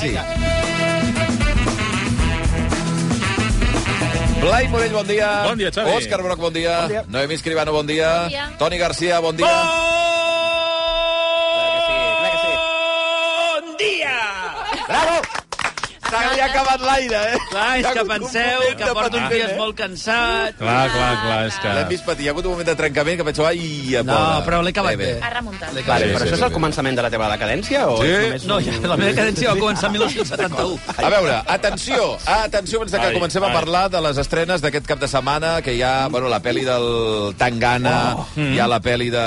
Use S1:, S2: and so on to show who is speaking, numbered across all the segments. S1: sí.
S2: Blai Morell, bon dia.
S3: Bon dia, Xavi.
S2: Òscar Broc, bon dia.
S4: Bon dia.
S2: Noemí Escribano, bon dia.
S5: Bon dia.
S2: Toni Garcia, bon dia.
S4: Clar que sí,
S3: Bon dia!
S2: Bravo! Se li ha acabat l'aire, eh?
S4: Clar,
S2: Hi ha
S4: és que
S2: hagut un
S4: penseu
S2: moment
S4: que
S2: de
S4: porto uns
S2: patiment,
S4: dies
S2: eh?
S4: molt cansat.
S3: Clar, clar, clar, és que...
S2: L'hem vist patir. Hi ha hagut un moment de trencament que vaig pensar... Ai, a
S4: No,
S2: pobra.
S4: Oh, però l'he acabat bé.
S5: Ha remuntat.
S4: Vale,
S3: Sí,
S4: però
S3: sí,
S4: això
S3: sí,
S4: és
S3: sí.
S4: el
S1: Començament de la teva decadència o
S2: Sí.
S1: és només...
S4: No, ja, la meva cadència va començar el 1971.
S2: A veure, atenció, atenció, abans de que
S3: Ai,
S2: comencem a
S3: ai.
S2: parlar de les estrenes d'aquest cap de setmana, que hi ha, bueno, la pel·li del Tangana, hi ha la pel·li de,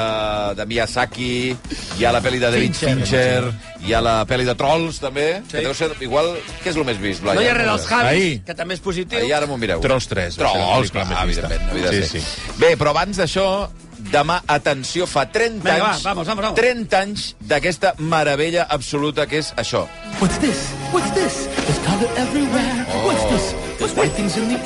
S2: de Miyazaki, hi ha la pel·li de David Fincher, hi ha la pel·li de Trolls, també, que deu ser, igual, què és el més vist, Blai? eh?
S4: No hi ha res dels Javis,
S3: Ahir.
S4: que també és positiu.
S2: Ahir ara m'ho mireu.
S3: Trolls 3, va ser la
S2: Trolls, clar,
S3: pel·lícula més vista.
S2: evidentment, evidentment.
S3: Sí,
S2: Sí, sí. Bé, però abans d'això, demà, atenció, fa 30
S4: Vinga, va,
S2: anys...
S4: vamos, vamos, vamos.
S2: 30 anys d'aquesta meravella absoluta que és això.
S6: What's this? What's this? There's color everywhere. What's this? Oh, There's white things in the air.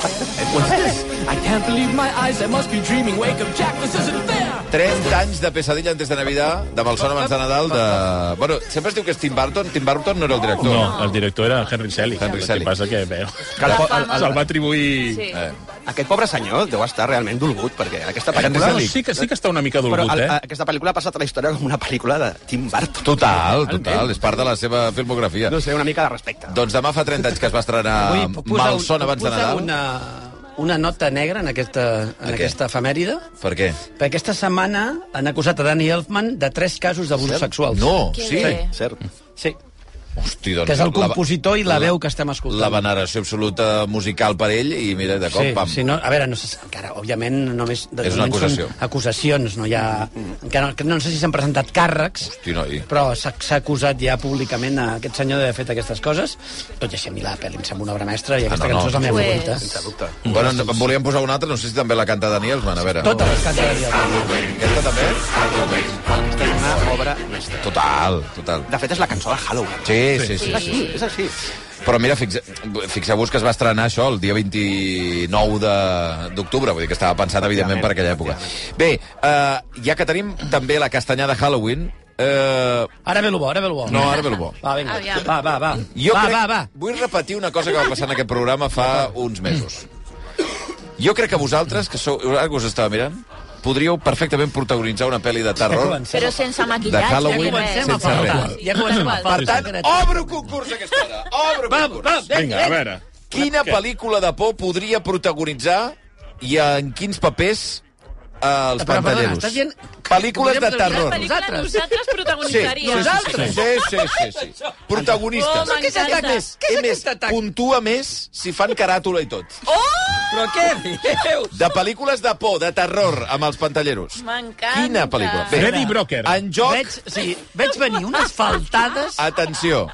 S6: What's this? I can't believe my eyes. I must be dreaming. Wake up, Jack. This isn't fair.
S2: 30 anys de Pesadilla antes de Navidad, de Malson abans de Nadal, de... Bueno, sempre es diu que és Tim Burton. Tim Burton no era el director.
S3: No, el director era Henry Selick.
S2: Henry
S3: El
S2: Selick.
S3: que passa que, bé,
S1: Que el, po- el, el,
S3: se'l va atribuir...
S5: Sí.
S2: Eh.
S1: aquest pobre senyor deu estar realment dolgut, perquè en aquesta
S2: Henry
S1: pel·lícula...
S3: No,
S2: Selick.
S3: sí que, sí que està una mica
S1: Però
S3: dolgut,
S1: el,
S3: eh?
S1: aquesta pel·lícula ha passat a la història com una pel·lícula de Tim Burton.
S2: Total, total, és part de la seva filmografia.
S1: No sé, una mica de respecte.
S2: Doncs demà fa 30 anys que es va estrenar
S4: Avui puc posar un-
S2: Malson abans
S4: puc
S2: de
S4: posar
S2: Nadal.
S4: Una, una nota negra en aquesta,
S2: De què?
S4: en aquesta efemèride.
S2: Per què?
S4: Perquè aquesta setmana han acusat a Danny Elfman de tres casos d'abusos sexuals.
S2: No,
S5: Que
S2: sí.
S5: bé.
S1: Cert.
S4: Sí,
S2: Hosti, doncs,
S4: que és el
S2: la-
S4: compositor i la veu que estem escoltant.
S2: La veneració absoluta musical per ell i mira, de cop,
S4: sí,
S2: pam.
S4: sí, no, a veure, no se sap encara, òbviament, només... de
S2: És una
S4: moment
S2: acusació. Mm.
S4: Són acusacions, no hi ha... Encara, no, no sé si s'han presentat càrrecs,
S2: Hosti, noi.
S4: però s'ha s'ha acusat ja públicament a aquest senyor d'haver fet aquestes coses. Tot i així, a mi la pel·li em sembla una obra mestra i aquesta
S2: no, no.
S4: cançó és la meva
S5: Pues-
S4: favorita.
S1: Sense dubte.
S2: Bueno, en, en volíem posar una altra, no sé si també la canta Daniels, man, a veure.
S4: Totes les cançons.
S2: Aquesta també?
S1: Aquesta és una obra mestra.
S2: Total, total.
S1: De fet, és la cançó de Halloween.
S2: Sí, sí, sí. sí, sí.
S1: És així.
S2: Però mira, fixe- fixeu-vos que es va estrenar això el dia 29 de- d'octubre, vull dir que estava pensat, evidentment, per aquella època. Bé, eh, ja que tenim també la castanyada Halloween, eh,
S4: Ara ve el bo, ara ve el bo.
S2: no, ara ve el bo.
S4: Va, vinga.
S5: Aviam.
S4: Va, va, va.
S2: Jo
S4: va,
S2: crec,
S4: va, va.
S2: Vull repetir una cosa que va passar en aquest programa fa uns mesos. Jo crec que vosaltres, que sou, ara que us estava mirant, podríeu perfectament protagonitzar una pel·li de terror.
S4: Comencem.
S5: Però sense maquillatge.
S2: De Halloween,
S5: ni res.
S2: sense Comencem a faltar. res.
S4: Ja comencem a
S3: Sí,
S4: faltar.
S3: sí.
S2: Per tant, oh, obro concurs a aquesta hora. Obro
S4: Vamos,
S2: concurs.
S4: vamos, vinga,
S3: Vinga, a
S4: vinga.
S3: veure.
S2: Quina
S3: Què?
S2: pel·lícula de por podria protagonitzar i en quins papers eh, els
S4: Però, perdona,
S2: pantalleros?
S4: estàs dient que
S2: Pel·lícules de
S4: podríem
S5: Una
S2: terror.
S4: protagonitzar
S5: pel·lícula
S4: Nosaltres.
S5: nosaltres
S2: Sí,
S5: protagonitzariam.
S2: sí, sí, sí, sí, sí, sí. Protagonistes.
S5: Oh,
S4: Què és aquest
S5: M'encanta.
S4: atac? Què és
S2: I més,
S4: aquest atac?
S2: puntua més si fan caràtula i tot.
S5: Oh!
S4: Però què dius?
S2: De pel·lícules de por, de terror, amb els pantalleros.
S5: M'encanta.
S2: Quina pel·lícula? Bé,
S3: Freddy Broker.
S2: En joc...
S4: Veig, sí, veig venir unes faltades...
S2: Atenció.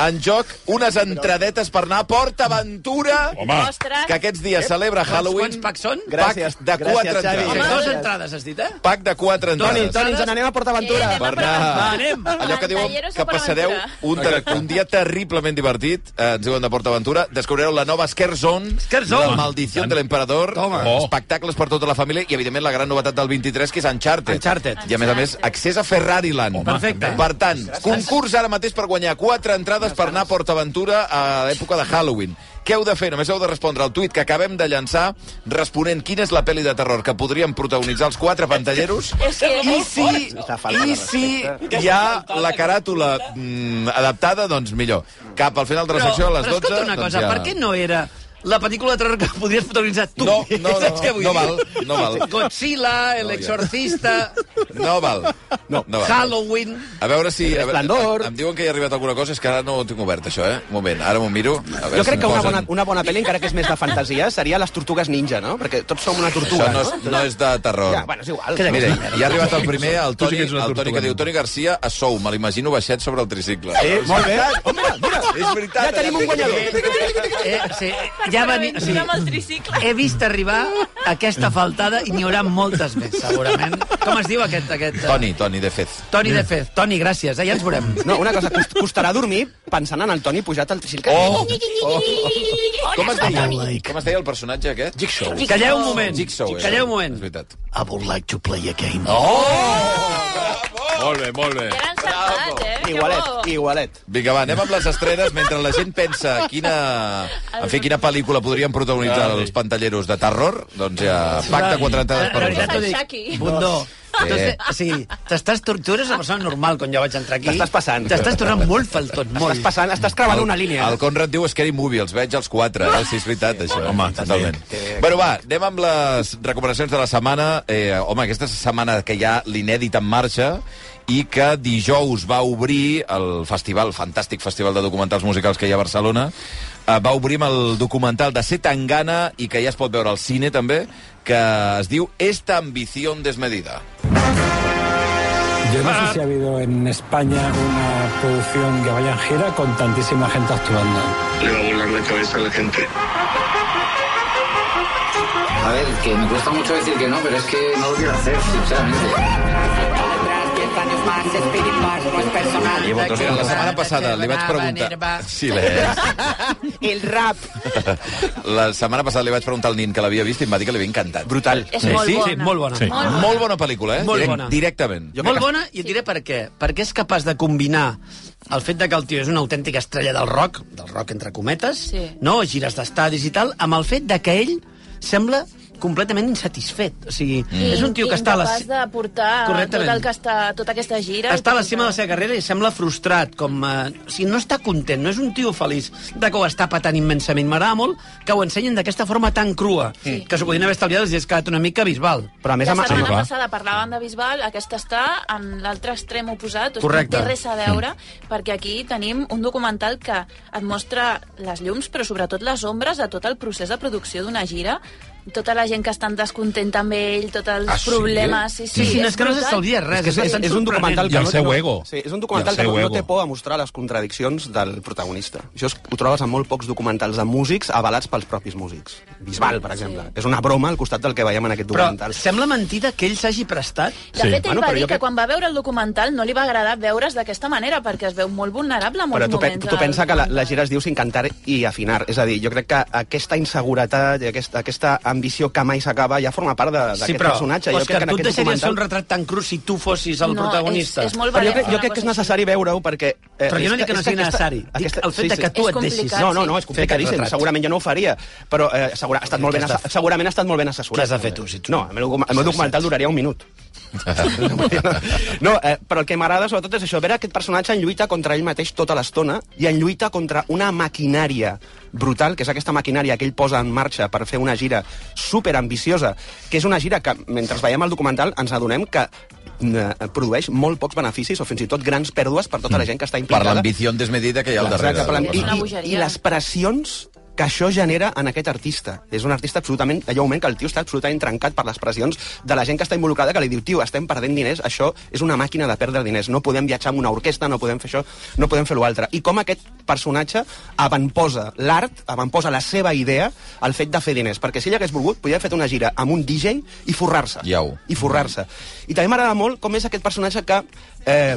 S2: En joc, unes entradetes per anar a Port Aventura,
S3: Home,
S5: Ostres.
S2: que aquests dies celebra
S4: Quants
S2: Halloween.
S4: packs són?
S1: Gràcies,
S2: Pack de
S1: gràcies,
S2: quatre
S1: Xavi.
S2: entrades.
S4: Dos entrades, has dit, eh?
S2: Pack de quatre
S1: Toni,
S2: entrades.
S1: Toni, ens n'anem a PortAventura.
S5: Eh, anem a
S2: Per anar...
S4: Anem.
S2: Allò que diuen
S5: Pantalleros
S2: que
S5: a
S2: passareu
S5: PortAventura.
S2: un, ter- un dia terriblement divertit, eh, ens diuen de PortAventura, descobrireu la nova Scare Zone,
S4: Scare Zone.
S2: la maldició de l'emperador,
S4: Toma.
S2: eh, espectacles per tota la família i, evidentment, la gran novetat del 23, que és Uncharted.
S4: Uncharted.
S2: I, a més a més, accés a Ferrari Land.
S4: Perfecte.
S2: Per tant, concurs ara mateix per guanyar quatre entrades per anar a PortAventura a l'època de Halloween. Què heu de fer? Només heu de respondre al tuit que acabem de llançar responent quina és la pel·li de terror que podrien protagonitzar els quatre pantalleros
S5: És que-
S2: i si,
S1: Està faltant
S2: i
S1: de
S2: si hi ha la caràtula mm, adaptada, doncs millor. Cap al final de la secció, a les 12...
S4: escolta una cosa,
S2: doncs ja...
S4: per què no era la pel·lícula de terror que podries protagonitzar tu?
S2: No, no, no,
S4: Saps què vull
S2: no
S4: dir?
S2: val, no val.
S4: Godzilla, El Exorcista,
S2: No val. No, no val.
S4: Halloween...
S2: A veure si... A
S1: Resplandor.
S2: veure, em diuen que hi ha arribat alguna cosa, és que ara no ho tinc obert, això, eh? Un moment, ara m'ho miro. A veure
S1: Jo crec
S2: si
S1: que
S2: em
S1: una
S2: posen-
S1: bona, una bona pel·li, encara que és més de fantasia, seria Les Tortugues Ninja, no? Perquè tots som una tortuga,
S2: Això no és, no és de terror.
S1: eh? Ja, bueno, és igual.
S2: Mira, ja ha arribat el primer, el
S3: Tu sí
S2: Toni,
S3: que ets una
S2: el Toni
S3: tortuga,
S2: que diu
S3: no?
S2: Toni Garcia a sou, me l'imagino baixet sobre el tricicle.
S1: Eh, molt bé. Oh, mira, mira,
S2: És veritat.
S1: ja tenim un guanyador.
S4: Eh, sí,
S5: Per
S4: ja
S5: anar
S4: veni...
S5: aventura
S4: o sigui,
S5: amb el tricicle.
S2: Eh,
S4: he vist arribar aquesta faltada i n'hi haurà moltes més, segurament. Com es diu aquest... aquest eh,
S2: Toni, Toni, de fet.
S4: Toni de Fez. Toni, gràcies, eh? ja ens veurem.
S1: No, una cosa, cost- costarà dormir pensant en el Toni pujat al tricicle.
S2: Oh! oh. Com es deia, com es deia el personatge aquest? Jigsaw.
S4: Calleu un moment.
S2: Jigsaw. eh? era.
S4: Calleu un moment.
S2: És veritat.
S4: I would like to play a game.
S2: Oh! Bravo!
S3: Molt bé, molt bé.
S5: Que l'han saltat, eh? Que bo.
S1: Igualet, igualet.
S2: Vinga, va, anem amb les estrenes mentre la gent pensa quina, en fi, quina pel·lícula podrien protagonitzar els pantalleros de terror. Doncs ja, pacta quatre
S4: Ah,
S2: entrades per
S5: veritat ho
S2: vosaltres.
S5: dic. Shaki.
S4: Bundó.
S2: Sí.
S4: Entonces, o sigui, t'estàs... tor- Tu eres una persona normal quan jo vaig entrar aquí.
S1: T'estàs passant.
S4: T'estàs tornant molt faltot, molt.
S1: Estàs passant, estàs clavant una línia. eh?
S2: El Conrad diu Scary Movie, els veig els quatre, eh? Sí, és veritat, això.
S3: Home,
S2: totalment. Bueno, va, anem amb les recomanacions de la setmana. Eh, home, aquesta setmana que hi ha l'inèdit en marxa i que dijous va obrir el festival, el fantàstic festival de documentals musicals que hi ha a Barcelona, eh, va obrir amb el documental de Setangana i que ja es pot veure al cine també, que es diu Esta ambición desmedida.
S7: Yo no sé si ha habido en España una producción que vaya en gira con tantísima gente actuando.
S8: le va a volar la cabeza a la gente.
S9: A ver, que me cuesta mucho decir que no, pero es que no lo quiero hacer, sinceramente.
S2: Llevo dos La setmana passada li vaig preguntar... Silenci.
S10: El rap.
S2: La setmana passada li vaig preguntar al nin que l'havia vist i em va dir que l'havia encantat.
S1: Brutal.
S5: És
S2: Sí,
S5: molt
S2: sí,
S5: bona.
S4: Sí, molt bona.
S3: Sí.
S5: Molt bona.
S2: Molt bona pel·lícula, eh?
S4: Molt bona.
S2: Directament.
S1: Jo
S4: molt
S1: crec que-
S4: bona, i et diré per què. Perquè és capaç de combinar el fet de que el tio és una autèntica estrella del rock, del rock entre cometes,
S5: Sí.
S4: no, gires d'estadis i tal, amb el fet de que ell sembla completament insatisfet. O sigui,
S5: I-
S4: és un tio que està a la...
S5: incapaç de portar tot
S4: Correctament.
S5: el que està, tota aquesta gira. i
S4: Està a la
S5: tot
S4: cima de
S5: això.
S4: la seva carrera i sembla frustrat, com... Eh, o sigui, no està content, no és un tio feliç de que ho està patant immensament. M'agrada molt que ho ensenyen d'aquesta forma tan crua, sí. que s'ho podien haver estalviat i és quedat una mica bisbal.
S1: Però a més,
S5: La
S1: amb,
S5: setmana
S1: amb,
S5: passada parlàvem de Bisbal, aquesta està en l'altre extrem oposat, o sigui,
S4: Correcte.
S5: no té res a veure, perquè aquí tenim un documental que et mostra les llums, però sobretot les ombres de tot el procés de producció d'una gira, tota la gent que estan descontenta amb ell, tots els
S2: Ah,
S5: ah,
S2: sí?
S5: problemes... Sí, sí,
S4: Sí, sí, no, és que no
S5: brutal.
S4: s'estalvia res.
S1: és, que és,
S4: tan
S1: és, un
S4: sorprenent.
S1: documental
S3: I
S1: que
S3: el
S1: no,
S3: seu
S1: no,
S3: ego.
S1: Sí, és un
S3: I
S1: documental
S3: el
S1: que no,
S3: seu
S1: no
S3: ego.
S1: té por a mostrar les contradiccions del protagonista. Això és, ho trobes en molt pocs documentals de músics avalats pels propis músics. Bisbal, per exemple. Sí. És una broma al costat del que veiem en aquest
S4: Però
S1: documental.
S4: sembla mentida que ell s'hagi prestat
S5: De
S3: Sí.
S5: fet, ell
S1: Bueno,
S5: va
S1: però
S5: dir
S1: jo
S5: que
S1: crec-
S5: quan va veure el documental no li va agradar veure's d'aquesta manera, perquè es veu molt vulnerable en molts
S1: Però tu, pe-
S5: moments.
S1: tu
S5: al
S1: pensa que la, la
S5: documental.
S1: gira es diu Sin cantar i afinar. És a dir, jo crec que aquesta inseguretat i aquesta, aquesta ambició que mai s'acaba ja forma part de- d'aquest
S4: Sí, però,
S1: personatge. Jo
S4: Òscar,
S1: crec que en
S4: tu et
S1: aquest
S4: deixaries fer un
S1: documental...
S4: retrat tan cru si tu fossis el
S5: No,
S4: protagonista.
S5: és- és molt
S1: Però jo crec,
S5: valent,
S1: jo
S5: una
S1: crec que és
S5: cosa
S1: necessari veure-ho perquè... Eh,
S4: Però jo no
S1: és
S4: dic que no
S1: és
S4: sigui
S1: aquesta-
S4: necessari. Dic
S1: aquesta-
S4: el fet de que tu
S5: És
S4: et deixis.
S5: complicat,
S1: No, no,
S5: sí.
S1: no, és complicadíssim.
S4: retrat.
S1: Segurament jo no ho faria, però eh, segura, ha estat molt ben,
S4: Què has de
S1: assa- segurament ha estat molt ben assessorat.
S4: Què has de fer tu, si tu-
S1: No, el meu, el meu documental duraria un minut. no, eh, però el que m'agrada sobretot és això, veure aquest personatge en lluita contra ell mateix tota l'estona i en lluita contra una maquinària brutal, que és aquesta maquinària que ell posa en marxa per fer una gira superambiciosa, que és una gira que, mentre veiem el documental, ens adonem que eh, produeix molt pocs beneficis o fins i tot grans pèrdues per tota la gent que està
S2: Per
S1: implicada.
S2: l'ambició desmedida que hi ha al darrere.
S1: Exacte, per
S5: És una
S1: l'ambició. I, i,
S5: bogeria.
S1: I les pressions que això genera en aquest artista. És un artista absolutament... Allà un moment que el tio està absolutament trencat per les pressions de la gent que està involucrada, que li diu, tio, estem perdent diners, això és una màquina de perdre diners, no podem viatjar amb una orquestra, no podem fer això, no podem fer l'altre. I com aquest personatge avantposa l'art, avantposa la seva idea al fet de fer diners. Perquè si ell hagués volgut, podria haver fet una gira amb un DJ i forrar-se.
S2: Iau.
S1: I forrar-se. I també m'agrada molt com és aquest personatge que... Eh,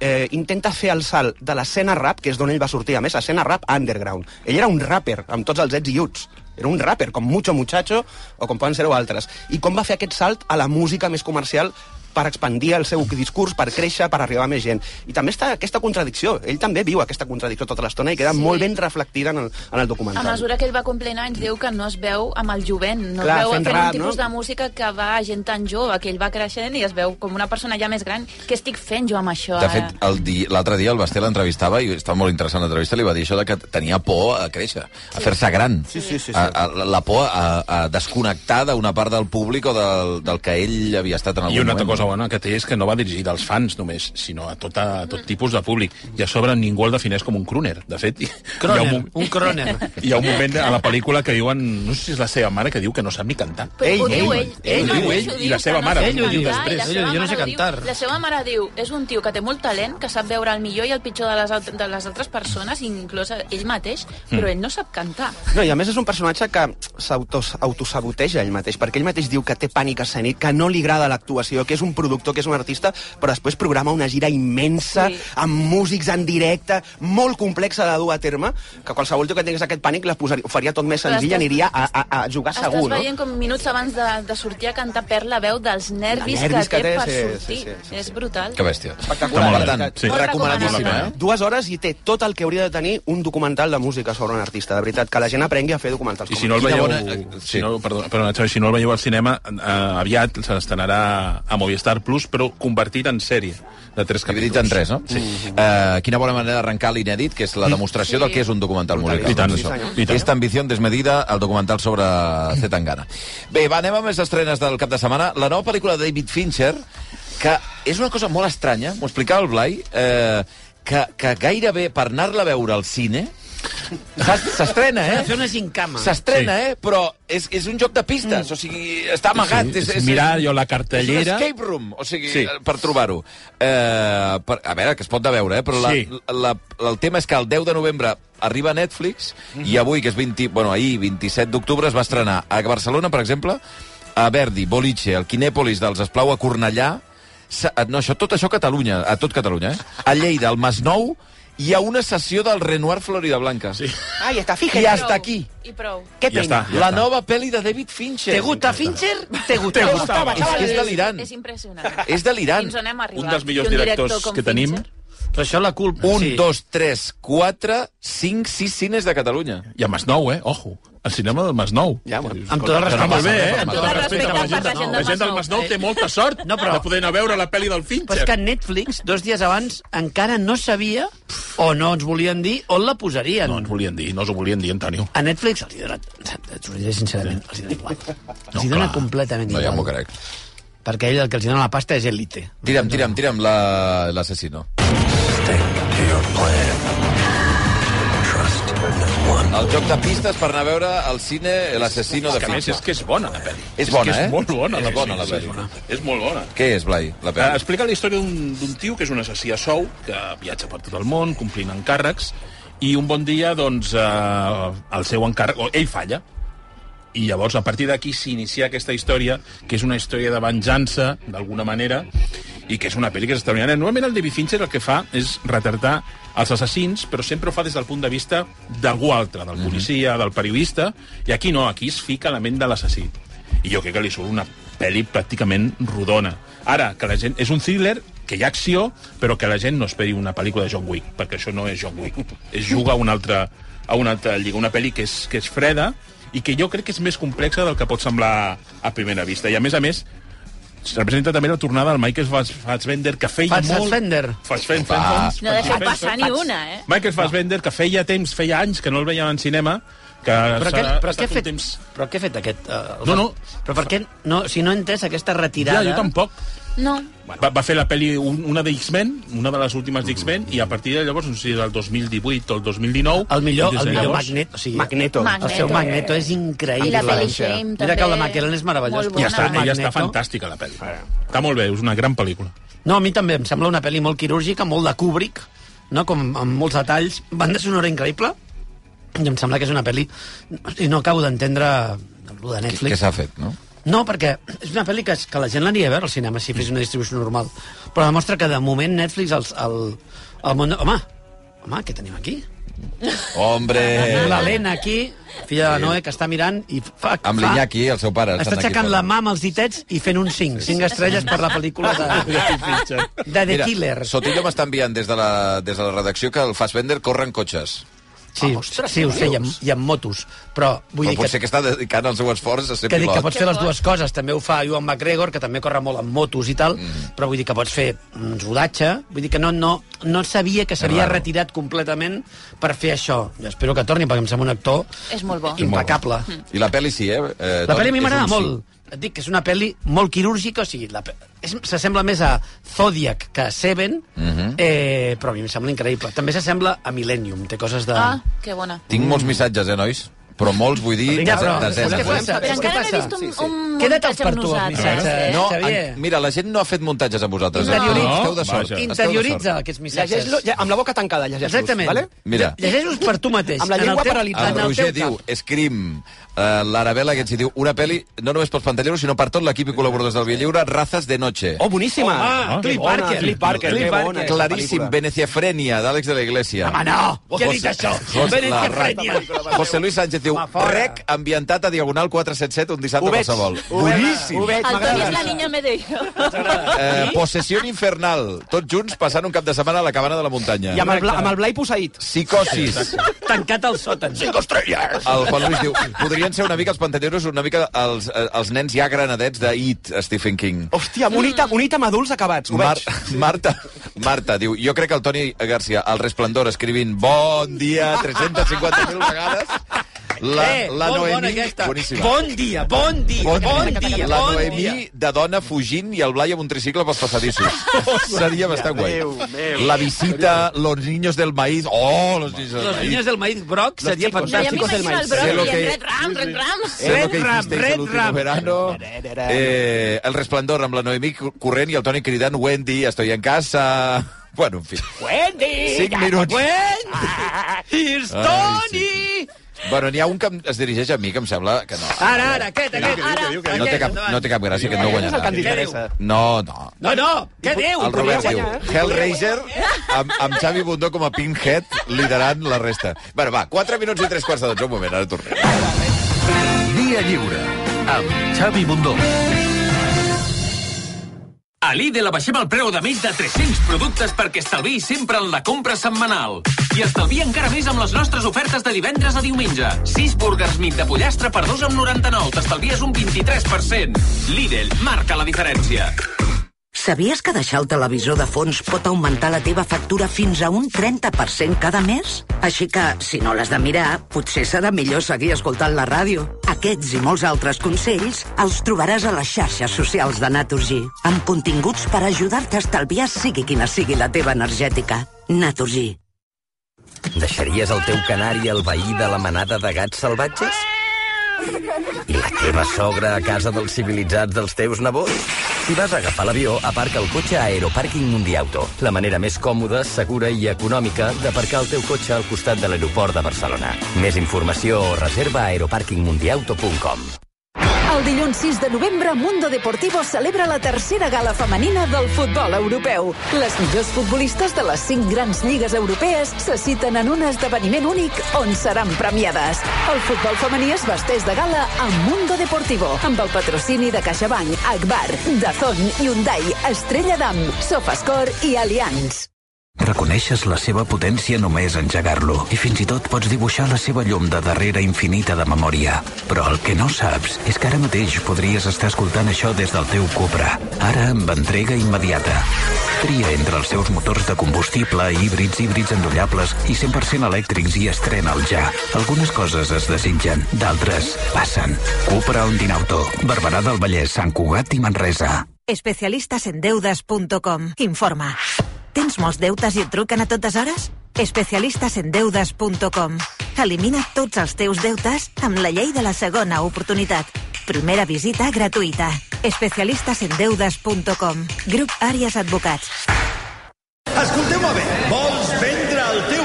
S1: eh, intenta fer el salt de l'escena rap, que és d'on ell va sortir, a més, escena rap underground. Ell era un rapper, amb tots els ets i uts. Era un rapper, com Mucho Muchacho, o com poden ser-ho altres. I com va fer aquest salt a la música més comercial per expandir el seu discurs, per créixer, per arribar a més gent. I també està aquesta contradicció. Ell també viu aquesta contradicció tota l'estona i queda
S5: Sí.
S1: sí. molt ben reflectida en el, en el documental.
S5: A mesura que ell va complint anys, diu que no es veu amb el jovent, no
S1: Clar,
S5: es veu
S1: fent
S5: fent,
S1: rap,
S5: un tipus
S1: no?
S5: de música que va a gent tan jove, que ell va creixent i es veu com una persona ja més gran. Què estic fent jo amb això
S2: De
S5: ara?
S2: fet, el di- l'altre dia el Basté l'entrevistava i estava molt interessant l'entrevista, li va dir això de que tenia por a créixer, a fer-se gran. Sí, sí, sí, sí. A, a, la por a, a desconnectar d'una part del públic o del, del que ell havia estat en algun
S3: I una altra
S2: moment.
S3: cosa bona que té és que no va dirigida als fans només, sinó a tot, a tot tipus de públic. I a sobre ningú el defineix com un crooner. De fet, hi- hi ha un,
S4: Croner,
S3: mo-
S4: un croner.
S3: hi ha un moment a la pel·lícula que diuen, no sé si és la seva mare, que diu que no sap ni cantar.
S5: Però
S1: Ell,
S5: ho diu
S1: ell,
S5: ell,
S3: ell, diu
S5: mateix ho
S3: ell,
S5: diu,
S3: i la
S5: que
S3: seva
S5: no
S3: mare,
S5: sap
S4: ell ho diu
S5: cantar, i la
S4: després.
S5: seva
S4: Ell ho diu, jo no
S5: mare
S4: sé
S5: ho diu-
S4: cantar.
S5: La seva mare diu, és un tio que té molt talent, que sap veure el millor i el pitjor de les, alt- de les altres persones, inclòs ell mateix, però ell no sap cantar.
S1: No, i a més és un personatge que s'autos- autosaboteja ell mateix, perquè ell mateix diu que té pànic escènic, que no li agrada l'actuació, que és un un productor, que és un artista, però després programa una gira immensa,
S5: Sí.
S1: sí. amb músics en directe, molt complexa de dur a terme, que qualsevol tio que tingués aquest pànic la posaria, ho faria tot més
S5: Però
S1: senzill,
S5: estàs-
S1: aniria a, a, a jugar
S5: Estàs
S1: segur, no?
S5: veient com minuts abans de, de sortir a cantar per la veu dels nervis,
S1: nervis
S5: que,
S1: que
S5: té,
S1: té,
S5: per
S1: sí,
S5: sortir.
S1: sí, sí, sí,
S5: és brutal.
S2: Que bèstia.
S1: Espectacular.
S2: Per tant,
S3: Sí.
S5: Molt
S2: recomanadíssim,
S5: recomanable.
S2: eh?
S1: Dues hores i té tot el que hauria de tenir un documental de música sobre un artista. De veritat, que la gent aprengui a fer documentals.
S3: I
S1: com
S3: si no el
S2: Quina
S3: veieu...
S2: bona- eh, sí.
S3: si no, perdó, perdó, Xavi, si no el veieu al cinema, eh, aviat se n'estrenarà a Movistar Plus, però convertit en sèrie, de tres capítols.
S2: Dividit en tres, no? Sí. Uh, quina bona manera d'arrencar l'inèdit, que és la demostració
S5: Sí.
S2: del que és un documental
S1: Brutal.
S2: musical.
S3: I tant,
S2: doncs,
S3: això.
S2: això.
S3: I tant.
S2: Esta ambició desmedida, el documental sobre C. Tangana. Bé, va, anem a més estrenes del cap de setmana. La nova pel·lícula de David Fincher, que és una cosa molt estranya, m'ho explicava el Blai, eh, que, que gairebé per anar-la a veure al cine s'es- s'estrena,
S4: Eh? Fer
S2: eh?
S4: una gincama.
S2: S'estrena, eh? Però és, és un joc de
S5: Mm.
S2: pistes, o sigui, està amagat.
S3: Sí, Ah, és mirar allò, la cartellera.
S2: És un escape room, o sigui, sí.
S3: Sí.
S2: per trobar-ho. Eh, per, a veure, que es pot de veure, eh? Però la,
S3: Sí.
S2: la, la, el tema és que el 10 de novembre arriba a Netflix i
S3: Mhm.
S2: avui, que és 20, bueno, ahir, 27 d'octubre, es va estrenar a Barcelona, per exemple, a Verdi, Boliche, al Quinèpolis dels Esplau, a Cornellà, Sa- eh, no, això, tot això a Catalunya, a tot Catalunya, eh? A Lleida, al Masnou, hi ha una sessió del Renoir Florida Blanca. Sí.
S1: Ai, està,
S2: I
S1: fíjate.
S2: hasta aquí.
S5: I prou.
S1: Què
S3: Ja està.
S1: pena.
S2: La nova pel·li de David Fincher.
S4: Te gusta Fincher? Te gusta. Te gusta.
S2: És que és delirant.
S5: És impressionant.
S2: És delirant.
S5: Fins on hem arribat.
S3: Un dels millors
S5: I director
S3: directors
S5: com
S3: que tenim.
S5: Fincher.
S4: Però això la culpa...
S2: Un, sí. dos, tres, quatre, cinc, sis cines de Catalunya.
S3: I a Masnou, eh? Ojo. El cinema del Masnou.
S1: Ja, bueno.
S4: Amb tot el
S3: Però
S4: respecte.
S3: molt bé, eh?
S5: Amb tot el respecte per la gent del
S3: La gent del
S5: Masnou.
S3: Masnou té molta sort
S4: No, però-
S3: de poder anar a veure la pel·li del
S4: Però és
S3: Fincher.
S4: que Netflix, dos dies abans, encara no sabia, o no ens volien dir, on la posarien.
S3: No ens volien dir, no us ho volien dir, Antonio.
S4: A Netflix els hi dona... T'ho diré sincerament, els hi dona igual. els hi
S3: clar.
S4: dona completament
S2: No, ja m'ho
S4: igual.
S2: crec.
S4: perquè ell el que els hi dona la pasta és elite.
S2: Tira'm, tira'm, tira'm la- l'assassino. El joc de pistes per anar a veure al cine l'assassino de
S3: que a més és
S2: Fincher.
S3: que és bona, la pel·li.
S2: És bona,
S3: és que
S2: eh?
S3: És molt bona, la
S2: És bona,
S3: pel·li.
S2: la
S3: Sí,
S2: pel·li.
S3: és bona. És molt bona.
S2: Què és, Blai, la
S4: Ah,
S3: Eh,
S2: pel·li?
S3: explica la història d'un d'un tio que és un assassí a sou, que viatja per tot el món, complint encàrrecs, i un bon dia, doncs, eh, el seu encàrrec... O, ell falla. I llavors, a partir d'aquí, s'inicia aquesta història, que és una història de venjança, d'alguna manera, i que és una pel·li que és extraordinària. Normalment el David Fincher el que fa és retratar els assassins, però sempre ho fa des del punt de vista d'algú altre, del policia, del periodista, i aquí no, aquí es fica la ment de l'assassí. I jo crec que li surt una pel·li pràcticament rodona. Ara, que la gent... És un thriller que hi ha acció, però que la gent no esperi una pel·lícula de John Wick, perquè això no és John Wick. Es juga a una altra, a una altra lliga, una pel·li que és, que és freda i que jo crec que és més complexa del que pot semblar a primera vista. I, a més a més, es representa també la tornada del Michael Fas- Fassbender, que feia
S4: Fats
S3: molt...
S4: Fassbender.
S3: Fassbender.
S2: Va.
S5: No deixem passar ni una, eh?
S3: Michael Fassbender, que feia temps, feia anys que no el veiem en cinema, que
S4: Però, què,
S3: s'ha- ha
S4: però, què ha
S3: estat un
S4: fet,
S3: temps...
S4: però què ha fet aquest... Uh,
S3: No, no.
S4: Però per què... No, si no he entès aquesta
S3: Ja,
S4: retirada...
S3: jo tampoc.
S5: No,
S3: Bueno. Va, va fer la pel·li, un- una de X-Men, una de les últimes d'X-Men, i a partir de llavors, no sé si era el 2018 o el 2019...
S4: El millor,
S3: doncs, des de
S4: el millor
S3: llavors-
S4: magnet, o sigui,
S1: Magneto.
S5: Magneto.
S4: el seu magneto és increïble.
S5: I la pel·li Shame,
S4: Mira que el de
S5: també.
S4: McKellen és meravellós.
S3: Ja
S5: Molt bona.
S3: està,
S5: Magneto.
S3: ja està fantàstica, la pel·li. Està molt bé, és una gran pel·lícula.
S4: No, a mi també em sembla una pel·li molt quirúrgica, molt de Kubrick, no? com amb molts detalls. Banda sonora increïble, i em sembla que és una pel·li... I no acabo d'entendre lo de
S2: Què
S4: Netflix.
S2: s'ha fet, no?
S4: No, perquè és una pel·li que, es- que la gent l'aniria a veure al cinema si fes una distribució normal. Però demostra que, de moment, Netflix... El, el, el món... de- Home, home, què tenim aquí?
S2: Hombre!
S4: Tenim l'Helena aquí, filla de la Noé, que està mirant i fa...
S2: Amb
S4: fa-
S2: l'Iñaki, el seu pare.
S4: Està
S2: estan aquí
S4: aixecant la
S2: parlant.
S4: mà amb els ditets i fent un 5. 5 estrelles per la pel·lícula de, de The
S2: Mira,
S4: Killer.
S2: Sotillo m'està enviant des de, la, des de la redacció que el Fassbender corre en cotxes.
S4: Sí,
S1: Ah, ostres,
S4: sí ho sé, i amb,
S1: Dios.
S4: i amb motos. Però vull
S2: Però
S4: dir
S2: potser
S4: que,
S2: que està dedicant el seu esforç a ser
S4: que, dic que
S2: pilot.
S4: pots fer les dues coses. També ho fa Ewan McGregor, que també corre molt amb motos i tal,
S2: Mhm.
S4: mm. però vull dir que pots fer un rodatge. Vull dir que no, no, no sabia que s'havia
S2: raro.
S4: retirat completament per fer això. Jo espero que torni, perquè em sembla un actor
S5: és molt bo.
S4: impecable.
S2: I la pel·li sí, eh? eh
S4: La pel·li a mi
S2: és un
S4: m'agrada
S2: sí.
S4: molt. Et dic que és una pel·li molt quirúrgica, o sigui, la pe- és- s'assembla més a Zodiac que a Seven,
S2: Mhm.
S4: eh, però a mi em sembla increïble. També s'assembla a Millennium, té coses de...
S5: Ah, que bona.
S2: Tinc molts missatges, eh, nois? Però molts, vull dir,
S4: Ja, però,
S2: desenes.
S4: què
S2: de- eh?
S4: passa? Saps
S5: Però
S4: què
S5: encara no he
S4: passa?
S5: vist un, un
S4: Queda't els
S5: muntatge
S4: per
S5: amb
S4: tu, els
S5: nosaltres.
S4: missatges, eh,
S2: No,
S4: Xavier.
S2: en, mira, la gent no ha fet muntatges amb vosaltres. eh?
S4: Interioritza.
S2: Esteu de
S3: No,
S2: sort.
S3: vaja.
S2: Esteu de sort.
S4: Interioritza aquests missatges.
S1: Llegeix-lo ja, amb la boca tancada, llegeix-los.
S4: Exactament.
S1: Vale?
S2: Mira.
S4: Llegeix-los per tu mateix.
S1: Amb la llengua
S4: en el teu,
S1: paralitzada.
S2: El
S4: en el
S2: Roger
S4: teu
S2: diu,
S4: cap.
S2: Scream, eh, l'Arabella Guetzi diu, una peli no només pels pantalleros, sinó per tot l'equip i col·laboradors del Villalliure, Razas de Noche.
S1: Oh, boníssima!
S4: Home,
S1: Ah,
S4: Cliff
S1: que bona,
S4: Barker.
S1: Cliff Barker,
S4: Cliff
S1: que
S4: Barker.
S1: bona.
S2: Claríssim, Veneciafrènia, d'Àlex de la Iglesia.
S4: Home, no! Què ha dit
S2: José-
S4: això?
S2: José-
S4: Venezia
S2: la-
S4: Frenia.
S2: José Luis Sánchez diu,
S4: fora.
S2: rec ambientat a Diagonal 477 un dissabte
S1: Ho veig,
S2: qualsevol.
S1: ho veig, ho veig,
S5: El Toni és la
S1: m'agrada.
S5: niña Medeiros.
S2: Eh, Possessió infernal, tots junts passant un cap de setmana a la cabana de la muntanya.
S1: I amb el, Bla, amb el Blai posseït.
S2: Psicosis.
S4: Tancat al sòtan.
S2: El Juan Luis diu, podrien ser una mica els pantalleros, una mica els, eh, els nens ja granadets de It, Stephen King.
S1: Hòstia, amb un
S4: Mm.
S1: ítem, un ítem adults acabats, Oh, ho
S2: Mar
S1: veig.
S2: Marta, Marta diu, jo crec que el Toni Garcia, al Resplendor, escrivint bon dia 350.000 vegades, la,
S4: eh,
S2: la
S4: molt bona
S2: Noemí...
S4: aquesta.
S2: boníssima.
S4: Bon dia, bon dia, bon, dia,
S2: la
S4: bon
S2: Noemí
S4: dia.
S2: de dona fugint i el Blai amb un tricicle pels passadissos. Seria bastant guai. La visita, los niños del maíz... Oh, los niños del
S4: Los
S2: maíz.
S4: niños del maíz broc seria
S5: Jo ja
S4: fantàstic.
S1: chicos del
S5: m'imagino el
S1: maíz.
S2: Sé lo
S5: Brock i
S2: que-
S5: el Red Ram, Red Ram.
S2: Sé lo que
S4: Red Ram,
S2: hicisteis
S4: Red
S2: el último
S4: Ram.
S2: verano. Eh, el resplendor amb la Noemí corrent i el Toni cridant Wendy, estoy en casa... Bueno, en fi. Wendy! Cinc minuts.
S4: Gwen! Here's Tony!
S2: Bueno, n'hi ha un que em- es dirigeix a mi que em sembla que no.
S4: Ara, ara, aquest, aquest.
S5: Ara.
S4: Ara.
S2: No té cap, no té cap gràcia, que no
S1: És el que ens
S2: guanyarà.
S1: interessa.
S2: No, no.
S4: No, no, què diu?
S2: El Robert diu,
S1: guanyar,
S2: Hellraiser, amb, amb Xavi Bundó com a Pinhead, liderant la resta. Bueno, va, 4 minuts i 3 quarts de 12. Un moment, ara tornem.
S10: Via Lliure, amb Xavi Bundó.
S6: A Lidl abaixem el preu de més de 300 productes perquè estalviï sempre en la compra setmanal. I estalvia encara més amb les nostres ofertes de divendres a diumenge. 6 burgers mig de pollastre per 2 amb 99. T'estalvies un 23%. Lidl marca la diferència.
S11: Sabies que deixar el televisor de fons pot augmentar la teva factura fins a un 30% cada mes? Així que, si no l'has de mirar, potser serà millor seguir escoltant la ràdio. Aquests i molts altres consells els trobaràs a les xarxes socials de Naturgy, amb continguts per ajudar-te a estalviar sigui quina sigui la teva energètica. Naturgy.
S10: Deixaries el teu canari al veí de la manada de gats salvatges? I la teva sogra a casa dels civilitzats dels teus nebots? Si vas a agafar l'avió, aparca el cotxe a Aeroparking Mundiauto. La manera més còmoda, segura i econòmica d'aparcar el teu cotxe al costat de l'aeroport de Barcelona. Més informació o reserva a aeroparkingmundiauto.com.
S12: El dilluns 6 de novembre, Mundo Deportivo celebra la tercera gala femenina del futbol europeu. Les millors futbolistes de les cinc grans lligues europees se citen en un esdeveniment únic on seran premiades. El futbol femení es vesteix de gala a Mundo Deportivo, amb el patrocini de CaixaBank, Akbar, Dazón, Hyundai, Estrella d'Am, Sofascore i Allianz.
S10: Reconeixes la seva potència només engegar-lo i fins i tot pots dibuixar la seva llum de darrere infinita de memòria. Però el que no saps és que ara mateix podries estar escoltant això des del teu Cupra, ara amb entrega immediata. Tria entre els seus motors de combustible, híbrids, híbrids endollables i 100% elèctrics i estrena'l ja. Algunes coses es desitgen, d'altres passen. Cupra Ondinauto, Barberà del Vallès, Sant Cugat i Manresa.
S12: especialistasendeudes.com. Informa. Tens molts deutes i et truquen a totes hores? especialistasendeudes.com. Elimina tots els teus deutes amb la llei de la segona oportunitat. Primera visita gratuïta. especialistasendeudes.com. Grup Àries Advocats.
S10: Escolteu-me bé. Vols vendre el teu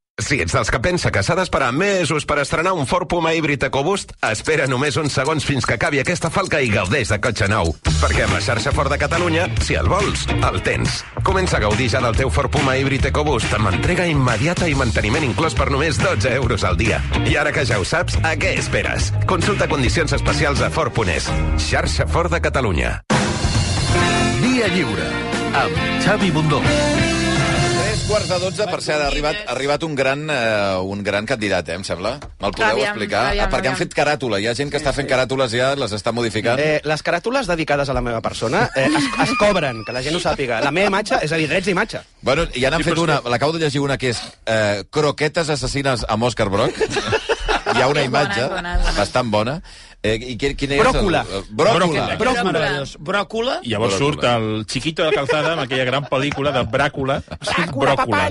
S8: Si ets dels que pensa que s'ha d'esperar mesos per estrenar un Ford Puma híbrid EcoBoost, espera només uns segons fins que acabi aquesta falca i gaudeix de cotxe nou. Perquè amb la xarxa Ford de Catalunya, si el vols, el tens. Comença a gaudir ja del teu Ford Puma híbrid EcoBoost amb entrega immediata i manteniment inclòs per només 12 euros al dia. I ara que ja ho saps, a què esperes? Consulta condicions especials a Ford Punés. Xarxa Ford de Catalunya.
S10: Dia Lliure amb Xavi Bundó.
S2: 3, quarts de 12, per cert, ha arribat, ha arribat un, gran, eh, un gran candidat, eh, em sembla. Me'l podeu
S1: Aviam,
S2: explicar?
S1: aviam,
S2: ah, perquè
S1: aviam.
S2: han fet caràtula. Hi ha gent que està fent caràtules ja, les està modificant.
S1: Eh, les caràtules dedicades a la meva persona eh, es, es cobren, que la gent ho sàpiga. La meva imatge, és a dir, drets d'imatge.
S2: Bueno, ja n'han fet una, l'acabo de llegir una que és eh, Croquetes assassines amb Òscar Broc. Hi ha una imatge
S4: bona, és bona.
S2: bastant bona. Eh, i qui- quina és?
S4: Bròcula.
S2: El, eh, bròcula.
S4: Bròcula. Broc meravellós. Bròcula.
S3: Llavors surt el Chiquito de Calzada amb aquella gran pel·lícula de Bràcula. Bràcula,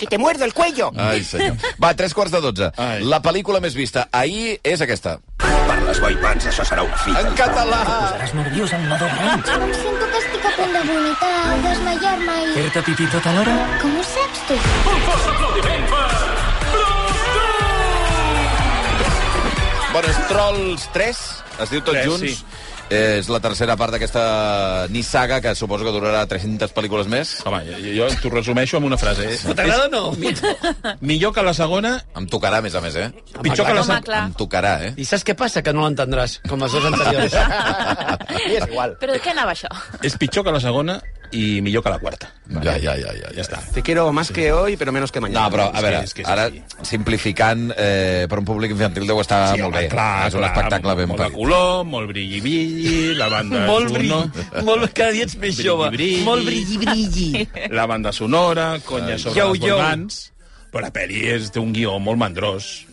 S1: que te muerdo el cuello.
S2: Ai, senyor. Va, tres quarts de dotze. La pel·lícula més vista ahir és aquesta. Per les boimans, això serà una fita. En català.
S13: Estàs nerviós amb nadó gran.
S14: Sento que estic a punt de vomitar, desmaiar-me i...
S13: Fer-te pipí tota l'hora?
S14: Com ho saps, tu?
S2: Bueno, és Trolls 3, es diu tot
S3: Tres,
S2: junts.
S3: sí.
S2: Eh, És la tercera part d'aquesta ni saga, que suposo que durarà 300 pel·lícules més.
S3: Home, jo t'ho resumeixo amb una frase. Eh?
S2: T'agrada
S3: o no? Millor que la segona...
S2: Em tocarà, a més a més, eh?
S4: Pitjor que la Home, clar.
S2: Em tocarà, eh?
S4: I saps què passa? Que no l'entendràs, com les dues anteriors.
S1: és igual.
S5: Però de què anava això?
S3: És pitjor que la segona i millor que la quarta.
S2: Ja, ja, ja, ja, ja està.
S1: Te quiero más que hoy, pero menos que mañana.
S2: No, però, a veure, ara, simplificant, eh, per un públic infantil deu estar
S3: Sí,
S2: molt
S3: home,
S2: bé.
S3: clar,
S2: és un
S3: clar,
S2: espectacle ben
S3: molt de
S2: parit.
S3: color, molt brilli-brilli, la banda
S4: Molt
S3: sonor-
S4: Molt, cada dia ets més jove.
S3: Brilli-brilli.
S4: Molt brilli-brilli.
S3: la banda sonora, conya sobre
S4: Yo,
S3: yo, les
S4: yo.
S3: volmans... Però la pel·li és, té un guió molt mandrós,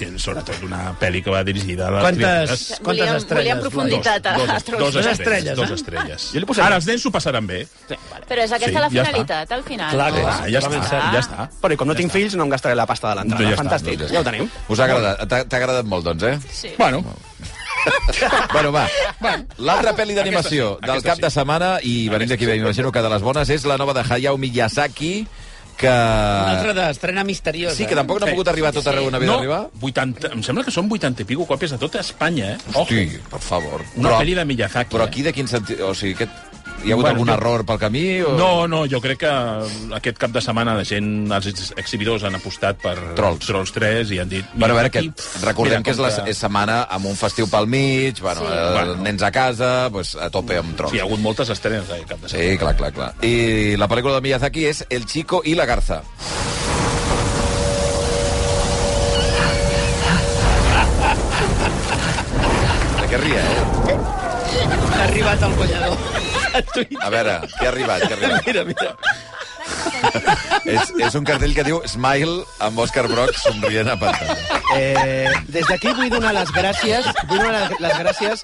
S3: que és sobretot una pel·li que va dirigida a les
S4: Quantes-
S3: criatures.
S4: quantes Volíem- estrelles, volíem profunditat
S3: Dos,
S5: a
S3: dos,
S5: l'Astro.
S3: dos,
S5: Dos
S3: estrelles,
S5: estrelles,
S3: dos
S5: eh?
S3: estrelles. Jo li posaré... Ara els nens s'ho passaran bé.
S5: Però és aquesta
S3: Sí,
S5: la
S3: ja està.
S5: finalitat, al final.
S3: Clar que
S5: no?
S3: sí. ja està, ja està.
S1: Però i com no tinc fills, no em gastaré la pasta de
S2: Doncs
S1: l'entrada.
S2: ja està,
S1: Fantàstic,
S2: doncs
S1: ja,
S2: ja
S1: ho tenim.
S2: Us ha agradat? T'ha t'ha agradat molt, doncs, eh?
S5: Sí.
S3: Bueno.
S2: bueno, va. L'altra pel·li d'animació
S3: Aquesta sí,
S2: del
S3: aquesta
S2: cap
S3: sí.
S2: de setmana, i venim d'aquí bé, imagino que de les bones, és la nova de Hayao Miyazaki, que...
S1: Ah.
S4: Una altra d'estrena eh? misteriosa.
S2: Sí, que tampoc no ha pogut arribar a tot arreu on havia
S3: no,
S2: d'arribar.
S3: 80, em sembla que són 80 i pico còpies a tota Espanya, eh?
S2: Hosti, per favor.
S3: Una pel·li de Miyazaki. eh?
S2: Però aquí de quin sentit... O sigui, aquest... Hi ha hagut
S3: Bueno,
S2: algun
S3: jo-
S2: error pel camí? O...
S3: No, no, jo crec que aquest cap de setmana la gent, els ex- exhibidors han apostat per Trolls, Trolls 3 i han dit...
S2: Bueno, a veure, que
S3: aquí,
S2: recordem
S3: mira,
S2: que és la
S3: com
S2: és setmana amb un festiu pel mig, bueno,
S3: Sí.
S2: sí. eh,
S3: Bueno.
S2: bueno. nens a casa, pues, a tope amb troncs.
S3: Sí, hi ha hagut moltes estrenes aquest cap de setmana.
S2: Sí, clar, clar, clar. I la pel·lícula de Miyazaki és El chico i la garza. De què ria, eh?
S4: Ha arribat el guanyador. A tu i-
S2: A veure, què ha arribat? Què ha arribat?
S4: Mira, mira.
S2: És, és un cartell que diu Smile amb Òscar Brock somrient a pantalla.
S1: Eh, des d'aquí vull donar les gràcies vull donar les, les gràcies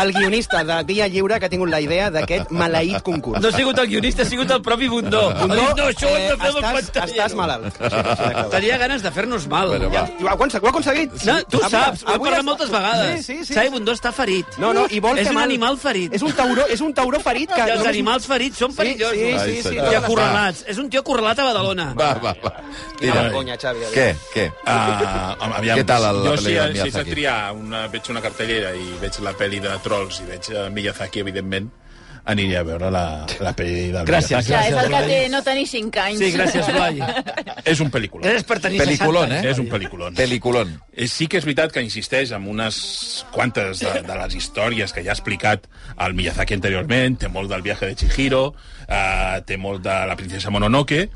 S1: al guionista de Dia Lliure que ha tingut la idea d'aquest maleït concurs.
S4: No ha sigut el guionista, ha sigut el propi Bundó.
S1: Bundó,
S4: Ha dit, no, això ho hem de
S1: eh,
S4: fer amb el
S1: estàs,
S4: pantalla.
S1: estàs malalt.
S4: Tenia ganes de fer-nos mal.
S1: Bueno, va. I ho ha aconse- ho ha aconseguit.
S4: No, tu
S1: Avui-
S4: saps, ho he
S1: avui
S4: parlat
S1: està-
S4: moltes vegades.
S1: Sí, sí, sí.
S4: Xavi Bundó està ferit.
S1: No, no, i vol
S4: és
S1: fer
S4: un
S1: mal.
S4: animal ferit.
S1: És un tauró, és un tauró ferit que...
S4: I els
S1: només-
S4: animals ferits són
S1: Sí,
S4: perillosos.
S1: sí, sí, tota sí,
S4: I
S1: totes les-
S4: acorralats. És un tio acorralat a Badalona.
S2: Va, va, va.
S1: Quina
S2: Tira.
S1: vergonya, Xavi, eh? aviam.
S2: Què? Què?
S3: Ah, home, aviam,
S2: Què tal la, la
S3: jo
S2: pel·li de
S3: si, si haig de
S2: Miyazaki?
S3: triar, una, veig una cartellera i veig la pel·li de Trolls i veig eh, Miyazaki, evidentment, aniré a veure la, la pel·li del
S4: Gràcies,
S3: Miyazaki.
S5: Clar, és el que té no tenir 5 anys.
S4: Sí, gràcies, Blai.
S3: És un pel·lícula.
S4: Gràcies per tenir
S2: Peliculón, 60 anys. eh?
S3: És un pel·lículon.
S2: Peliculón.
S3: Eh, Sí que és veritat que insisteix en unes quantes de, de les històries que ja ha explicat el Miyazaki anteriorment. Té molt del viatge de Chihiro, eh, té molt de la princesa Mononoke,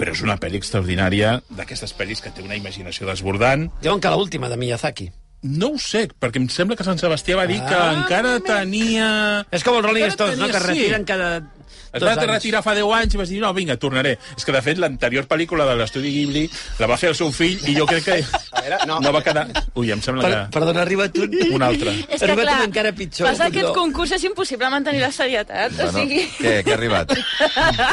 S3: però és una pel·li extraordinària d'aquestes pel·lis que té una imaginació desbordant.
S4: Diuen que l'última de Miyazaki.
S3: No ho sé, perquè em sembla que Sant Sebastià va dir que
S4: Ah,
S3: encara tenia...
S4: És com els Rolling
S3: Encara
S4: Stones, no?
S3: tenia-
S4: Que es
S3: sí.
S4: retiren cada...
S3: Es
S4: dos
S3: va
S4: anys.
S3: retirar fa 10 anys i vas dir, no, vinga, tornaré. És que, de fet, l'anterior pel·lícula de l'estudi Ghibli la va fer el seu fill i jo crec que no, va quedar... Ui, em sembla
S4: Per,
S3: que...
S4: perdona, arriba tu.
S3: Un altre.
S5: És
S4: Ha
S5: que,
S4: arribat
S5: clar,
S4: un encara pitjor,
S5: passa
S4: Bundó.
S5: aquest concurs és impossible mantenir la serietat.
S2: Bueno,
S5: o sigui,
S2: què, què ha arribat?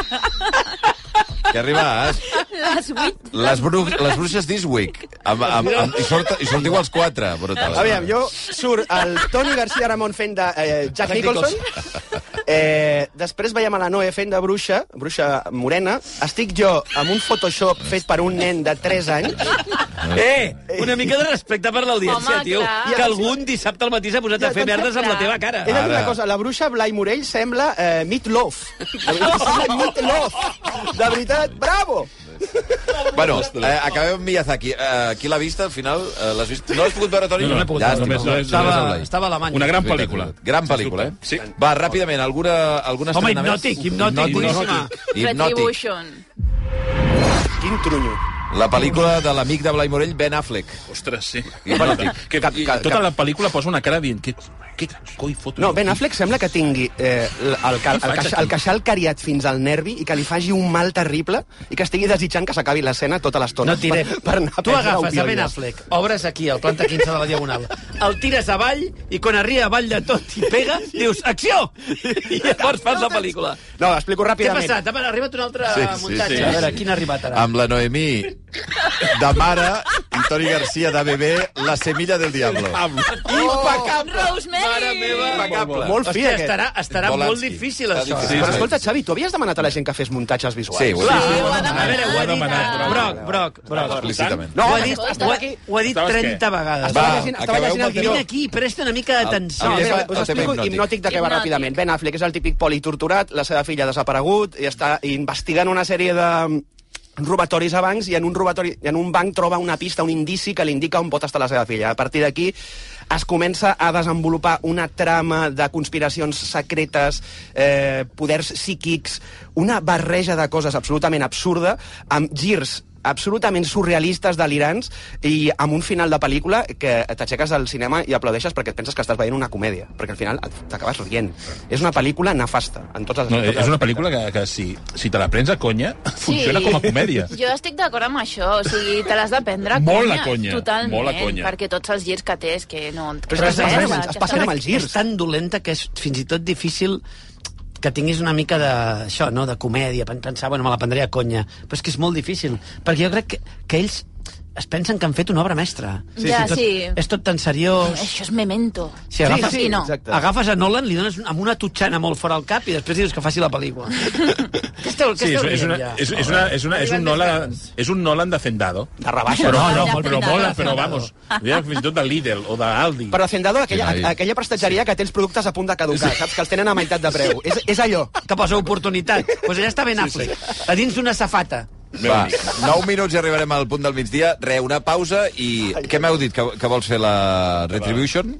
S2: Què ha arribat?
S5: les 8...
S2: Les, bru les bruixes this week. Amb, amb, amb, i, sort, I sortiu els quatre, brutal.
S1: Aviam, jo surt el Toni García Ramon fent de eh, Jack Nicholson. Eh, després veiem a la Noe fent de bruixa, bruixa morena. Estic jo amb un Photoshop fet per un nen de 3 anys.
S4: Eh, una mica de respecte per l'audiència,
S1: Home,
S4: tio.
S1: clar.
S4: Que algun dissabte al matí s'ha posat a fer merdes amb la teva cara. Ah.
S1: He de dir una cosa, la bruixa Blai Morell sembla eh, Meatloaf. Sembla Meatloaf. De veritat, bravo!
S2: Bueno, eh, acabem amb Miyazaki. Eh, qui l'ha vist, al final? Eh, L'has vist? No l'has pogut veure, Toni?
S3: No, no l'he pogut veure, només-
S2: Estava,
S3: només- només el
S2: estava,
S3: Blai.
S2: estava a Alemanya.
S3: Una gran pel·lícula.
S2: Gran pel·lícula, eh? Sí. Va, ràpidament, alguna, alguna
S4: Home,
S2: estrena
S4: hipnòtic, hipnòtic, boníssima.
S2: Hipnòtic.
S5: Retribution.
S1: Quin trunyo.
S2: La pel·lícula de l'amic de Blai Morell, Ben Affleck.
S3: Ostres, sí.
S2: I, bueno, dic,
S3: que,
S2: cap-
S3: i,
S2: cap-
S3: tota
S2: cap-
S3: la pel·lícula posa una cara dient... Què, què coi foto?
S1: No, Ben Affleck sembla que tingui eh, el, el, ca-
S3: Què
S1: el,
S3: faig
S1: caix,
S3: aquí?
S1: el queixal cariat fins al nervi i que li faci un mal terrible i que estigui desitjant que s'acabi l'escena tota l'estona.
S4: No tirem.
S1: Per, per anar a
S4: tu
S1: prendre
S4: agafes a
S1: opioides.
S4: Ben Affleck, obres aquí, al planta 15 de la Diagonal, el tires avall i quan arriba avall de tot i pega, dius, acció! I llavors fas la pel·lícula.
S1: No, explico
S4: Què ha
S1: ràpidament.
S4: passat? Ha arribat un altre
S2: Sí,
S4: sí,
S2: sí,
S4: muntatge.
S2: sí.
S4: a veure, quin ha arribat ara?
S2: Amb la Noemí de mare i Toni Garcia de bebè, La semilla del diablo.
S5: Impecable! Oh, Rosemary! Mare meva!
S2: Impecable.
S1: Molt fi,
S4: Hòstia,
S1: aquest.
S4: estarà, estarà
S2: Polanski.
S4: molt difícil,
S2: eh? Està
S4: això. eh?
S2: difícil.
S1: Però escolta, Xavi, tu havies demanat a la gent que fes muntatges visuals.
S2: Sí, ho he
S1: Clar.
S2: dit.
S4: A veure, ho ha demanat. Broc, broc, broc.
S2: Explícitament.
S4: No, ho ha
S1: Estava-
S4: dit, ho
S1: estava
S4: ha,
S1: aquí.
S4: ho ha dit
S1: Estaves
S4: 30
S1: què?
S4: vegades.
S1: Va,
S4: Estava llegint- estava
S2: acabeu
S4: llegint
S2: amb
S4: el
S2: el guió.
S4: guió. Vine aquí, presta una mica d'atenció.
S1: No,
S2: El
S1: mira,
S2: tema-
S1: us
S2: el tema
S1: explico
S2: hipnòtic.
S1: hipnòtic de què va
S5: Hipnòtic.
S1: ràpidament. Ben Affleck és el típic poli torturat, la seva filla ha desaparegut, i està investigant una sèrie de robatoris a bancs i en un, robatori, en un banc troba una pista, un indici que li indica on pot estar la seva filla. A partir d'aquí es comença a desenvolupar una trama de conspiracions secretes, eh, poders psíquics, una barreja de coses absolutament absurda, amb girs absolutament surrealistes, delirants, i amb un final de pel·lícula que t'aixeques del cinema i aplaudeixes perquè et penses que estàs veient una comèdia, perquè al final et- t'acabes rient. És una pel·lícula nefasta, en totes,
S3: No,
S1: en totes
S3: és una pel·lícula que, que si, si te la prens a conya, funciona com a comèdia.
S5: Jo estic d'acord amb això, o sigui, te l'has de prendre a
S3: Molt a
S5: conya.
S3: conya,
S5: Totalment,
S3: molt a conya.
S5: perquè tots els girs que té és que no...
S1: Però és que es passen- es passen amb els girs.
S4: És tan dolenta que és fins i tot difícil que tinguis una mica de, això, no? de comèdia, pen- pensar, bueno, me la prendré a conya. Però és que és molt difícil, perquè jo crec que, que ells es pensen que han fet una obra mestra.
S5: Sí, Ja,
S4: És tot,
S5: sí.
S4: És tot tan seriós.
S5: Això és memento.
S4: Si agafes,
S5: sí, no.
S1: exacte.
S4: agafes a Nolan, li dones amb una totxana molt fora al cap i després dius que faci la pel·lícula. què esteu, què
S3: Sí, és,
S4: esteu
S3: és,
S4: rient,
S3: una,
S4: ja?
S3: és, és, una, és, una, és, un Nolan, és un Nolan defendado.
S1: De rebaixa.
S3: Però, no, no,
S5: De
S3: però
S5: Hacendado,
S3: mola,
S5: de
S3: però
S5: Hacendado.
S3: vamos. Diria fins i tot de Lidl o d'Aldi.
S1: Però Hacendado, aquella,
S2: Sí, noi.
S1: aquella prestatgeria que té els productes a punt de caducar, saps? Que els tenen a meitat de preu. És, és allò.
S4: Que posa oportunitat. Doncs pues allà està Ben Affleck, a dins d'una safata.
S2: Va, 9 minuts i arribarem al punt del migdia. Re, una pausa i... Què m'heu dit? Que, que vols fer la Retribution?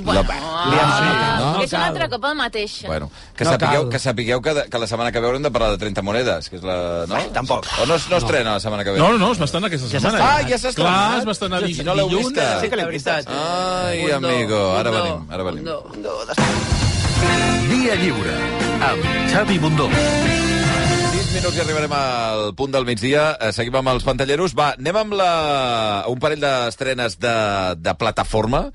S5: Bueno,
S2: No?
S5: Ah, és un altre cop el mateix.
S2: Bueno, que,
S4: No
S2: sapigueu,
S4: cal.
S2: que sapigueu que, de- que la setmana que ve haurem de parlar de 30 monedes, que és la... No?
S1: tampoc.
S2: O no, es- no estrena la setmana que ve?
S3: No, no, no, es va estrenar aquesta
S4: Ja s'ha
S3: setmana.
S2: estrenat. Ah, ja s'ha estrenat.
S3: Clar, es va estrenar
S2: Jo,
S3: di-
S2: si no l'heu
S3: dilluns.
S2: vista.
S4: Sí que l'he vist.
S2: Ai, amigo, ara venim, ara venim.
S10: Via lliure amb Xavi Bundó.
S2: 6 minuts i arribarem al punt del migdia. Eh, Seguim amb els pantalleros. Va, anem amb la... un parell d'estrenes de, de plataforma.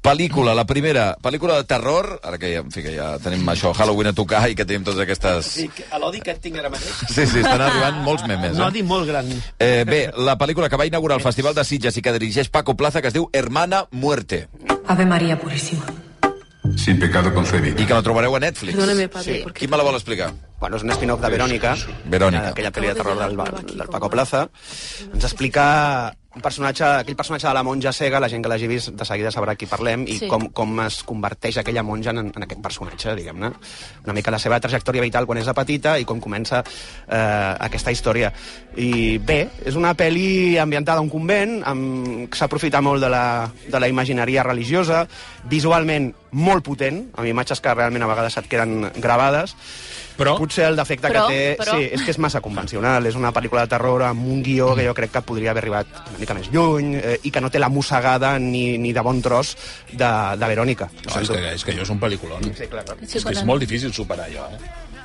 S2: Pel·lícula, la primera, pel·lícula de terror, ara que ja, en fi, que ja tenim això, Halloween a tocar i que tenim totes aquestes... Sí,
S4: A l'odi que et tinc ara mateix.
S2: sí, estan arribant molts memes.
S4: Un
S2: Eh?
S4: odi molt gran.
S2: Eh, bé, la pel·lícula que va inaugurar el Festival de Sitges i que dirigeix Paco Plaza, que es diu Hermana Muerte,
S13: Ave María Purísima.
S15: Sin pecado concebido.
S2: i que la trobareu a Netflix.
S13: Perdóname, padre,
S1: Sí.
S13: porque
S2: Qui me la vol explicar?
S1: Bueno, és un spin-off de Verònica,
S2: Verònica.
S1: aquella pel·li de terror del, del Paco Plaza. Ens explica un personatge, aquell personatge de la monja cega, la gent que l'hagi vist de seguida sabrà qui parlem i
S5: Sí.
S1: com, com es converteix aquella monja en, en aquest personatge, diguem-ne. Una mica la seva trajectòria vital quan és de petita i com comença eh, aquesta història. I bé, és una pel·li ambientada a un convent, amb, que s'aprofita molt de la, de la imagineria religiosa, visualment molt potent, amb imatges que realment a vegades et queden gravades,
S3: Però-
S1: Potser el defecte
S5: Però-
S1: que té...
S5: però-
S1: Sí, és que és massa convencional. És una pel·lícula de terror amb un guió que jo crec que podria haver arribat una mica més lluny eh, i que no té la mossegada ni, ni de bon tros de, de Verònica.
S3: No, és, que, és que jo és un pel·lículon.
S1: Sí, clar, clar.
S5: Sí,
S3: És que és
S5: quan-
S3: molt difícil superar allò, eh?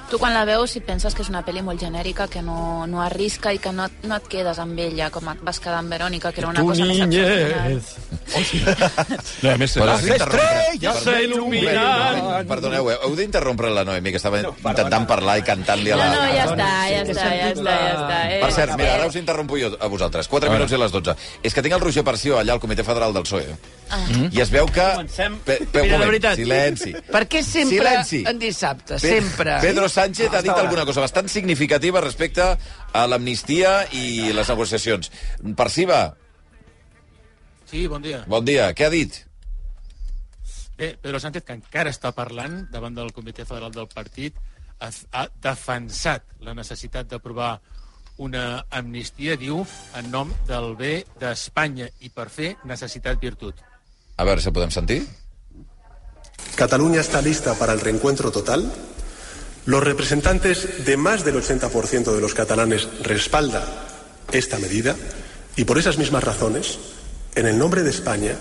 S5: Tu quan la veus si penses que és una pel·li molt genèrica, que no, no arrisca i que no, no et quedes amb ella, com et vas quedar amb Verònica, que era una cosa més excepcional.
S3: No, a més,
S2: Però-
S3: ah, sí,
S2: estrelles
S4: s'il·luminen.
S2: Perdoneu,
S5: eh,
S2: heu heu d'interrompre la Noemi, que estava intentant parlar i cantant-li a
S5: No,
S2: la...
S5: no, ja està, ja està, ja està, ja està. Eh,
S2: Per cert, mira, ara us interrompo jo a vosaltres. 4 minuts i les 12. És que tinc el Roger Perció allà al Comitè Federal del PSOE.
S5: Ah.
S2: E. I es veu que...
S4: Comencem.
S2: Pe- pe- un
S4: Mira, de
S2: moment,
S4: veritat.
S2: Silenci.
S4: Per què sempre
S2: Silenci.
S4: en dissabte?
S2: Pe-
S4: sempre.
S2: Pedro Sánchez ha dit alguna cosa bastant significativa respecte a l'amnistia i les negociacions. Perciba,
S16: Sí, bon dia.
S2: bon dia, què ha dit?
S16: Bé, Pedro Sánchez, que encara està parlant davant del Comitè Federal del Partit, ha, ha defensat la necessitat d'aprovar una amnistia, diu, en nom del bé d'Espanya i per fer necessitat virtut.
S2: A veure si el podem sentir.
S15: Cataluña está lista para el reencuentro total. Los representantes de más del 80% de los catalanes respalda
S8: esta medida y por esas mismas razones, en el nombre de España,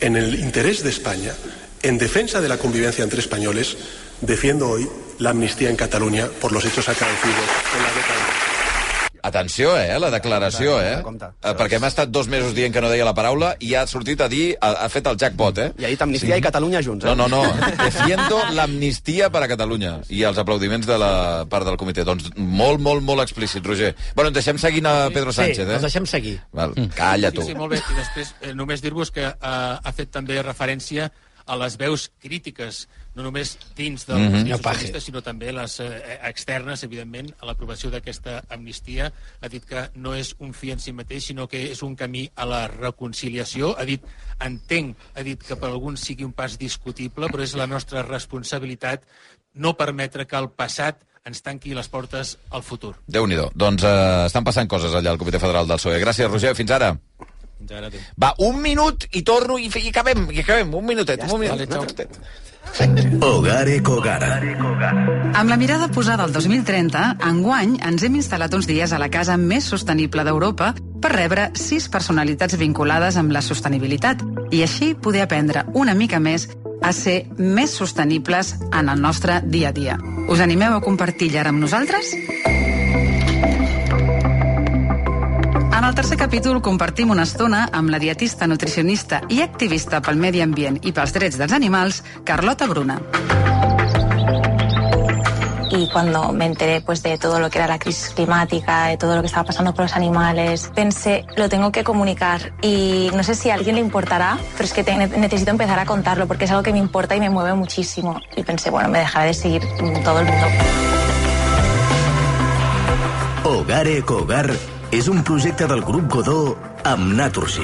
S8: en el interés de España, en defensa de la convivencia entre españoles, defiendo hoy la amnistía en Cataluña por los hechos acaecidos en la década.
S2: Atenció, eh, la declaració, eh? eh perquè hem estat dos mesos dient que no deia la paraula i ha sortit a dir, ha, ha fet el jackpot, eh?
S1: I ha dit Amnistia i Catalunya junts,
S17: doncs,
S1: eh?
S2: No, no, no. Defiendo l'amnistia per a Catalunya. I els aplaudiments de la part del comitè. Doncs molt, molt, molt explícit, Roger. Bueno, ens deixem seguint a Pedro Sánchez,
S4: sí,
S2: eh?
S4: els deixem seguir.
S2: Val, calla, tu.
S17: doncs Sí, sí, molt bé. I després, eh, només dir-vos que eh, ha fet també referència a les veus crítiques, no només dins del
S4: Mhm.
S17: Partit
S4: Senyor Paje.
S17: Socialista, sinó també les eh, externes, evidentment, a l'aprovació d'aquesta amnistia. Ha dit que no és un fi en si mateix, sinó que és un camí a la reconciliació. Ha dit, entenc, ha dit que per alguns sigui un pas discutible, però és la nostra responsabilitat no permetre que el passat ens tanqui les portes al futur.
S2: Déu-n'hi-do. Doncs eh, estan passant coses allà al Comitè Federal del PSOE. E. Gràcies, Roger. Fins ara.
S17: Fins ara, adéu.
S2: Va, un minut i torno i, i acabem, i acabem. Un minutet, un minutet.
S18: Ogare Cogara.
S12: Amb la mirada posada al 2030, enguany ens hem instal·lat uns dies a la casa més sostenible d'Europa per rebre sis personalitats vinculades amb la sostenibilitat i així poder aprendre una mica més a ser més sostenibles en el nostre dia a dia. Us animeu a compartir llar amb nosaltres? En el tercer capítol compartim una estona amb la dietista, nutricionista i activista pel medi ambient i pels drets dels animals, Carlota Bruna.
S19: y cuando me enteré pues de todo lo que era la crisis climática, de todo lo que estaba pasando con los animales, pensé, lo tengo que comunicar y no sé si a alguien le importará, pero es que te- necesito empezar a contarlo porque es algo que me importa y me mueve muchísimo. Y pensé, bueno, me dejará de seguir mm, todo el mundo.
S20: Ogare Cogar és un projecte del grup Godó amb Naturgy.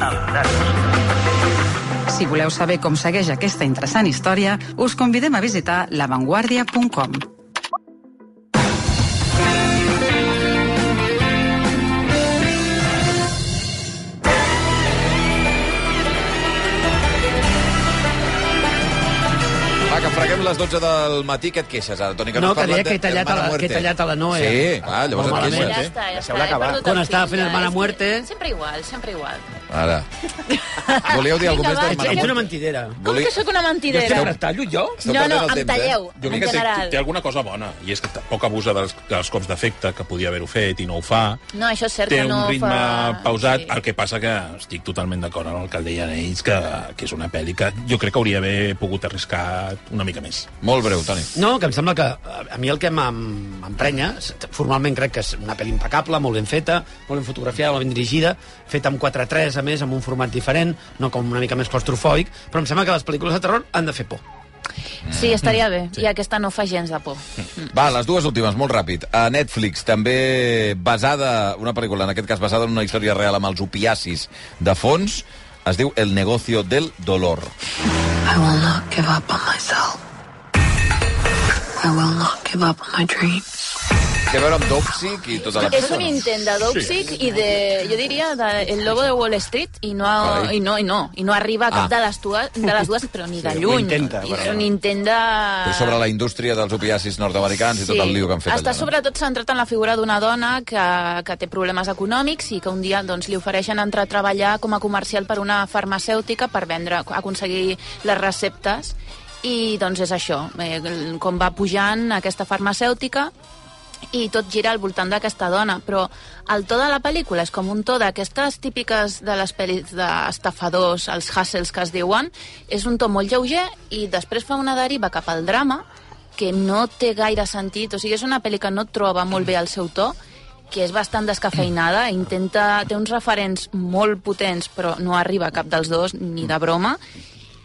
S12: Si voleu saber com segueix aquesta interessant història, us convidem a visitar lavanguardia.com.
S2: Va, que freguem les 12 del matí. Què et queixes ara, Toni? Que
S4: No,
S2: has
S4: que
S2: parlat
S4: deia
S2: de
S4: que he tallat
S2: Hermana
S4: a la-
S2: Muerte.
S4: que he tallat a la Noe.
S2: Sí, va, llavors
S4: Molt
S2: et
S4: malament.
S2: queixes.
S4: Ja està,
S5: ja
S4: Deixeu-la
S5: està, he
S4: acabar.
S5: perdut
S4: Quan
S5: el
S4: estava
S5: fil,
S4: fent
S5: ja,
S4: Hermana
S5: és que-
S4: Muerte.
S5: Sempre igual, sempre igual.
S2: eh? Ara. Volíeu dir alguna
S5: Vinga,
S2: cosa
S5: va,
S2: més
S5: Ets- ets una
S4: mentidera.
S5: Com que sóc una mentidera?
S2: retallo, jo?
S5: No, no,
S2: eh?
S5: em talleu,
S3: Jo
S5: en
S3: crec que té,
S5: general.
S3: té alguna cosa bona, i és que tampoc abusa dels, dels cops d'efecte, que podia haver-ho fet i no ho fa.
S5: No, això és cert
S3: té
S5: que no
S3: un ritme
S5: fa...
S3: pausat, el que passa que estic totalment d'acord amb el que deien ells, que, que és una pel·li que jo crec que hauria d'haver pogut arriscar una mica més.
S2: Molt breu, Toni.
S4: No, que em sembla que a a mi el que m'em- m'emprenya, s- formalment crec que és una pel·li impecable, molt ben feta, molt ben fotografiada, molt ben dirigida, feta amb 4-3, a més, amb un format diferent, no com una mica més claustrofòbic, però em sembla que les pel·lícules de terror han de fer por.
S5: Sí,
S2: Mm.
S5: estaria bé. I aquesta no fa gens de por.
S2: Va, les dues últimes, molt ràpid. A Netflix, també basada, una pel·lícula, en aquest cas basada en una història real amb els opiacis de fons, es diu El negocio del dolor.
S21: I will not give up on myself. I will not give up on my dreams.
S2: Té a veure amb Dopsic i tota la...
S5: És un intent de Dopsic i de, jo diria, de El Lobo de Wall Street i no,
S2: Carai.
S5: i no, i no, i no arriba a cap
S2: Ah.
S5: de, les dues, de les dues, però ni de
S2: Sí, ho
S5: lluny.
S2: intenta,
S5: I
S2: però
S5: és
S2: no.
S5: un intent de...
S2: Però és sobre la indústria dels opiacis nord-americans i tot el lío que han fet
S5: Està
S2: allà.
S5: sobretot centrat en la figura d'una dona que, que té problemes econòmics i que un dia doncs, li ofereixen entrar a treballar com a comercial per una farmacèutica per vendre, aconseguir les receptes i doncs és això, eh, com va pujant aquesta farmacèutica i tot gira al voltant d'aquesta dona, però el to de la pel·lícula és com un to d'aquestes típiques de les pel·lis d'estafadors, els hustles que es diuen, és un to molt lleuger i després fa una deriva cap al drama que no té gaire sentit, o sigui, és una pel·li que no troba molt bé el seu to, que és bastant descafeinada, intenta, té uns referents molt potents, però no arriba a cap dels dos, ni de broma,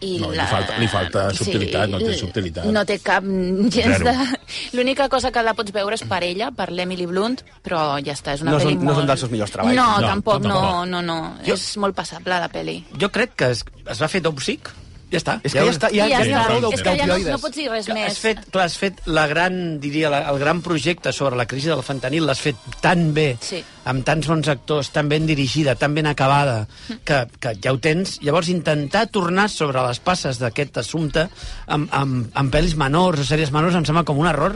S5: i
S3: No,
S5: la-
S3: li falta, li falta
S5: Sí,
S3: subtilitat, no té subtilitat.
S5: No té cap mm, gens
S3: Zero.
S5: de... L'única cosa que la pots veure és per ella, per l'Emily Blunt, però ja està, és una
S1: No és
S5: pel·li
S1: un, no és un
S5: molt...
S1: dels seus millors treballs.
S5: No, tampoc, no, no, no. És molt passable, la pel·li.
S4: Jo crec que es, es va fer Dopsic, ja està.
S1: És que ja està, ja-
S5: I ja
S1: ja
S5: està,
S1: prou
S5: és que ja no,
S1: d'opioides.
S5: no pots dir res
S4: Has
S5: més.
S4: fet, clar, has fet la gran, diria, la, el gran projecte sobre la crisi del fentanil, l'has fet tan bé,
S5: Sí.
S4: amb tants bons actors, tan ben dirigida, tan ben acabada, que, que ja ho tens. Llavors, intentar tornar sobre les passes d'aquest assumpte amb, amb, amb pel·lis menors o sèries menors em sembla com un error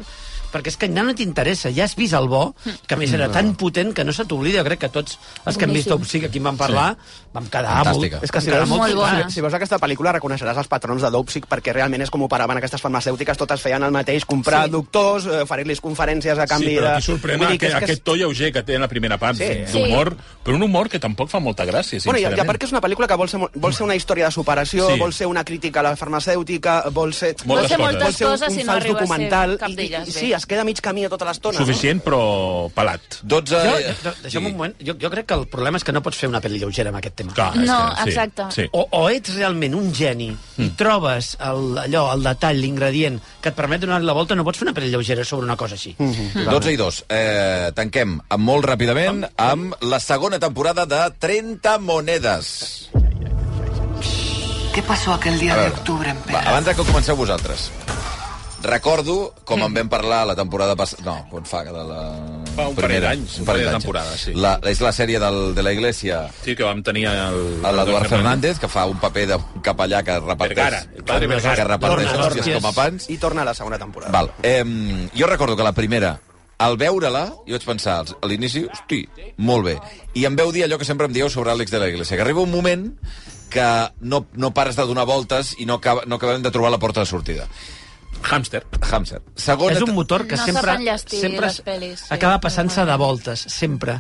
S4: perquè és que ja no t'interessa, ja has vist el bo, que a més era
S1: No.
S4: tan potent que no se t'oblida, crec que tots els que hem vist
S1: Boníssim.
S4: Opsig, aquí en vam parlar, vam quedar molt...
S1: És que si
S4: vam quedar
S1: veus, si, si veus aquesta pel·lícula reconeixeràs els patrons de Dopsic perquè realment és com operaven aquestes farmacèutiques, totes feien el mateix, comprar
S3: Sí.
S1: doctors, eh, oferir-los conferències a canvi
S3: sí, però
S1: de...
S3: aquí sorprèn
S1: Vull
S3: que,
S1: dir que és que és-
S3: aquest to lleuger que té en la primera part
S1: Sí.
S3: d'humor, però un humor que tampoc fa molta gràcia,
S1: Bueno, i,
S3: sincerament.
S1: i a part que és una pel·lícula que vol ser, mo- vol ser una història de superació,
S3: Sí.
S1: sí. vol ser una crítica a la farmacèutica, vol ser...
S3: Moltes Vol ser coses. moltes
S1: Vol ser
S5: coses
S1: un,
S5: i
S1: un
S5: no
S1: fals
S5: arriba a ser
S1: documental.
S5: cap
S1: i,
S5: d'elles,
S1: i,
S5: bé.
S1: sí, es queda a mig camí a tota l'estona.
S3: Suficient, però pelat.
S2: 12...
S4: Jo, jo, deixa'm un moment. Jo, jo crec que el problema és que no pots fer una pel·li lleugera amb aquest tema.
S3: Clar,
S5: és No, que sí, exacte. sí.
S4: O, o ets realment un geni i trobes el, allò, el detall, l'ingredient, que et permet donar-li la volta, no pots fer una pel·li lleugera sobre una cosa així. Mm
S2: Mm. 12 i 2. Eh, tanquem amb molt ràpidament amb la segona temporada de 30 monedes.
S13: ¿Qué pasó aquel día
S2: A
S13: de
S2: ver.
S13: octubre en
S2: Va, abans de que comenceu vosaltres. Recordo com en vam parlar la temporada passada... No, quan fa... De la...
S3: Fa un parell
S2: primera,
S3: d'anys,
S2: un parell
S3: un parell de
S2: d'anys.
S3: temporades, sí.
S2: La, és la sèrie del, de la Iglesia,
S3: Sí, que vam tenir el...
S2: l'Eduard Fernández, que fa un paper de capellà que reparteix...
S3: Vergara, el padre Vergara.
S2: Que reparteix
S3: Torna,
S2: hòsties
S3: hòsties.
S2: com a pans.
S1: I torna a la segona temporada.
S2: Val. Eh, jo recordo que la primera, al veure-la, jo vaig pensar als- a l'inici, hosti, molt bé. I em veu dir allò que sempre em dieu sobre Àlex de la Iglesia, que arriba un moment que no, no pares de donar voltes i no, acaba, no acabem de trobar la porta de sortida.
S3: Hàmster.
S2: Hàmster. Segona...
S4: És un motor que
S5: No sap
S4: sempre,
S5: enllestir
S4: sempre
S5: les pel·lis, sí,
S4: acaba passant-se de voltes, sempre.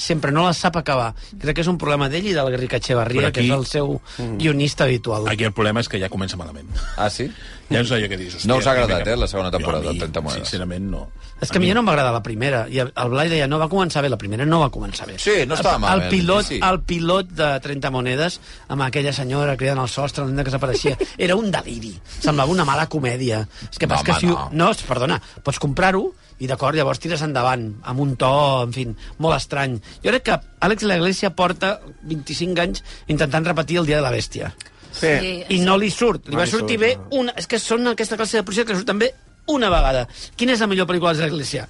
S4: Sempre, no la sap acabar. Crec que és un problema d'ell i del Garrica Echevarria,
S3: Però
S4: aquí... que
S3: aquí-
S4: és el seu guionista habitual.
S3: Aquí el problema és que ja comença malament.
S2: Ah, sí?
S3: Ja és allò que dius... hòstia,
S2: No us ha agradat,
S3: mira,
S2: eh, la segona temporada
S3: jo a
S2: del 30 monedes.
S3: Sincerament, no.
S4: És que a mi ja no em va agradar la primera. I el Blai deia, no va començar bé, la primera no va començar bé.
S2: Sí, no estava eh,
S4: El-
S2: malament,
S4: El pilot,
S2: sí.
S4: sí. el pilot de 30 monedes, amb aquella senyora cridant al sostre, la nena que s'apareixia, era un deliri. Semblava una mala comèdia. És que,
S2: No,
S4: no, que
S2: home,
S4: si...
S2: no.
S4: no. perdona, pots comprar-ho i d'acord, llavors tires endavant, amb un to, en fi, molt estrany. Jo crec que Àlex la Iglesia porta 25 anys intentant repetir el Dia de la Bèstia.
S1: Sí.
S4: I no li surt. Li
S1: No
S4: va
S1: li
S4: sortir
S1: surt,
S4: bé una... És que són aquesta classe de projectes que surten bé una vegada. Quina és la millor pel·lícula de l'Església?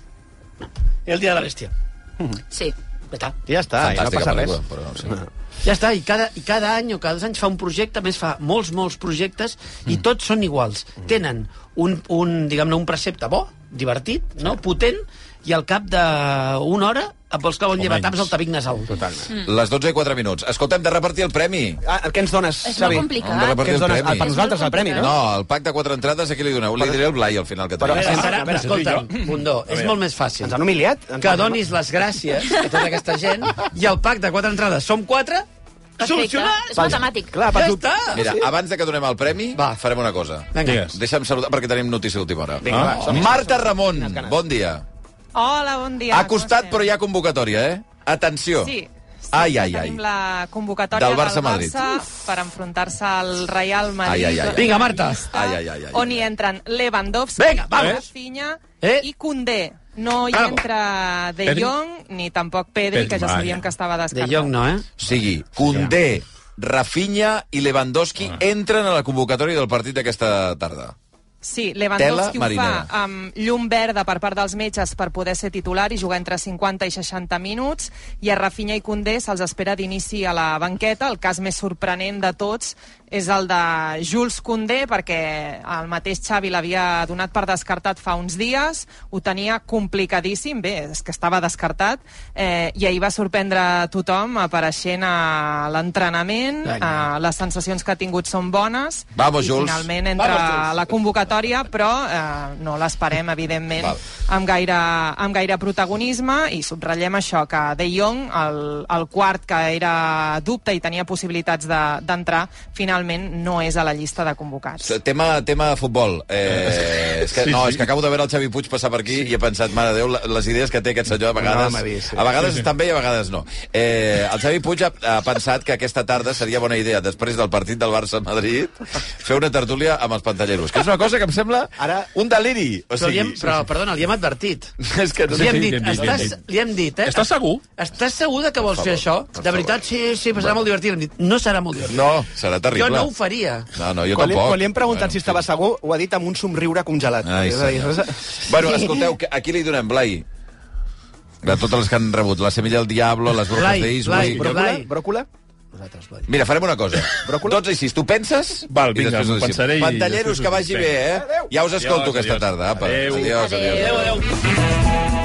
S4: El dia de la bèstia.
S5: Sí.
S4: Ja està.
S1: I ja està, i no
S2: Fantàstica
S1: passa res.
S2: pel·lícula, però no sé.
S4: Ja està, i cada, i cada any o cada dos anys fa un projecte, a més fa molts, molts projectes, i
S1: Mm.
S4: tots són iguals. Tenen un, un diguem-ne, un precepte bo, divertit, no? potent, i al cap d'una hora et vols clavar un llevataps al tabic nasal.
S1: Totalment.
S2: Les 12 i 4 minuts. Escolta'm, de repartir el premi.
S1: Ah, què ens dones,
S5: És molt
S1: Xavi?
S5: complicat.
S2: Hem de repartir
S1: Què ens
S2: el
S1: dones?
S2: premi.
S1: Ah, per nosaltres el premi, no?
S2: No, el pack de 4 entrades, a qui li doneu? Li diré el Blai al final que
S4: Però,
S2: tenim.
S4: a veure, ara,
S1: a veure,
S4: escolta'm,
S1: tu i jo.
S4: Bundó,
S1: A
S4: és
S1: veure.
S4: molt més fàcil.
S1: Ens han humiliat? Ens
S4: Que
S1: han-
S4: donis les gràcies a tota aquesta gent i el pack de quatre entrades som quatre,
S5: Perfecte.
S4: solucionat!
S5: És matemàtic.
S1: Clar,
S4: Ja està!
S2: Mira, abans de que donem el premi, Va. farem una cosa.
S4: Vinga.
S3: Digues.
S2: Deixa'm saludar, perquè tenim notícia d'última hora.
S1: Vinga, va, som-hi.
S2: Marta Ramon, bon dia.
S17: Hola, bon dia.
S2: Ha costat, però hi ha convocatòria, eh? Atenció.
S17: Sí.
S2: Ai, ai, ai.
S17: Tenim la convocatòria
S2: Del
S17: del
S2: Barça
S17: Barça,
S2: Madrid.
S17: per enfrontar-se al Real
S2: Ai,
S17: Madrid.
S2: ai, ai, ai.
S4: Vinga, Marta.
S2: Ai, ai, ai. ai.
S17: On hi entren Lewandowski,
S4: Vinga, vamos.
S17: Rafinha
S4: Eh?
S17: i Koundé. No hi
S4: Bravo.
S17: entra De
S2: Pedri.
S17: Jong ni tampoc Pedri,
S2: Pedri,
S17: que ja sabíem
S2: vaja.
S17: que estava
S4: De
S17: descartat.
S4: Jong no, eh?
S2: O sigui, Condé, Rafinha i Lewandowski entren a la convocatòria del partit d'aquesta tarda.
S17: Sí, Lewandowski
S2: Tela
S17: ho
S2: marinera.
S17: fa amb llum verda per part dels metges per poder ser titular i jugar entre 50 i 60 minuts i a Rafinha i Condé se'ls espera d'inici a la banqueta. El cas més sorprenent de tots és el de Jules Condé perquè el mateix Xavi l'havia donat per descartat fa uns dies, ho tenia complicadíssim, bé, és que estava descartat eh, i ahir va sorprendre tothom apareixent a l'entrenament,
S2: Vinga.
S17: eh, les sensacions que ha tingut són bones
S2: Vamos,
S17: i
S2: Jules.
S17: finalment entra
S2: Vamos, Jules.
S17: a la convocatòria, però eh, no l'esperem, evidentment,
S2: Val.
S17: amb gaire, amb gaire protagonisme i subratllem això, que De Jong, el, el quart que era dubte i tenia possibilitats de- d'entrar, de, finalment no és a la llista de convocats.
S2: Tema, tema de futbol. Eh, és que,
S3: Sí,
S2: no, és
S3: sí.
S2: que acabo de veure el Xavi Puig passar per aquí i he pensat, mare de Déu, la- les idees que té aquest senyor a vegades...
S1: m'ha vist, sí.
S2: a vegades
S1: Sí,
S2: sí,
S1: sí.
S2: estan bé i a vegades no. Eh, el Xavi Puig ha, ha pensat que aquesta tarda seria bona idea, després del partit del Barça-Madrid, fer una tertúlia amb els pantalleros, que és una cosa que em sembla Ara... un deliri. O
S4: Però, li
S2: sigui,
S4: hem, però perdona, li hem advertit.
S2: És que no
S4: Li hem
S2: Sí,
S4: dit,
S2: li hem dit, li hem
S4: estàs,
S2: dit.
S4: li hem dit, eh?
S2: Estàs segur?
S4: Estàs segur de que vols
S2: Per
S4: fer això?
S2: favor, per
S4: De veritat, sí, sí, però serà molt divertit. Li hem dit, no serà molt divertit.
S2: No, serà terrible.
S4: Jo no ho faria.
S2: No, no, jo
S1: quan, li,
S2: tampoc.
S1: quan li hem preguntat
S2: Bueno,
S1: si estava segur, ho ha dit amb un somriure congelat.
S2: Ai,
S1: És a dir,
S2: senyor.
S1: és-
S2: Bueno, escolteu, que- a qui li donem, Blai? De totes les que han rebut, la Semilla del Diablo, les Brujas
S4: Blai,
S2: de Eastwick...
S4: Blai, Blai.
S1: Bròcula?
S4: vosaltres. Vull.
S2: Mira, farem una cosa. Bròcula? 12 i 6, tu penses? Val,
S3: vinga,
S2: després ho
S3: m'ho
S2: decidim.
S3: pensaré i
S2: Pantalleros,
S3: després
S2: que
S3: us
S2: vagi
S3: dic.
S2: bé, eh?
S3: Adéu.
S2: Ja us escolto
S3: Adiós,
S2: aquesta
S3: adiós.
S2: tarda. Apa.
S3: Adéu.
S2: adiós.
S3: Adéu,
S2: adéu.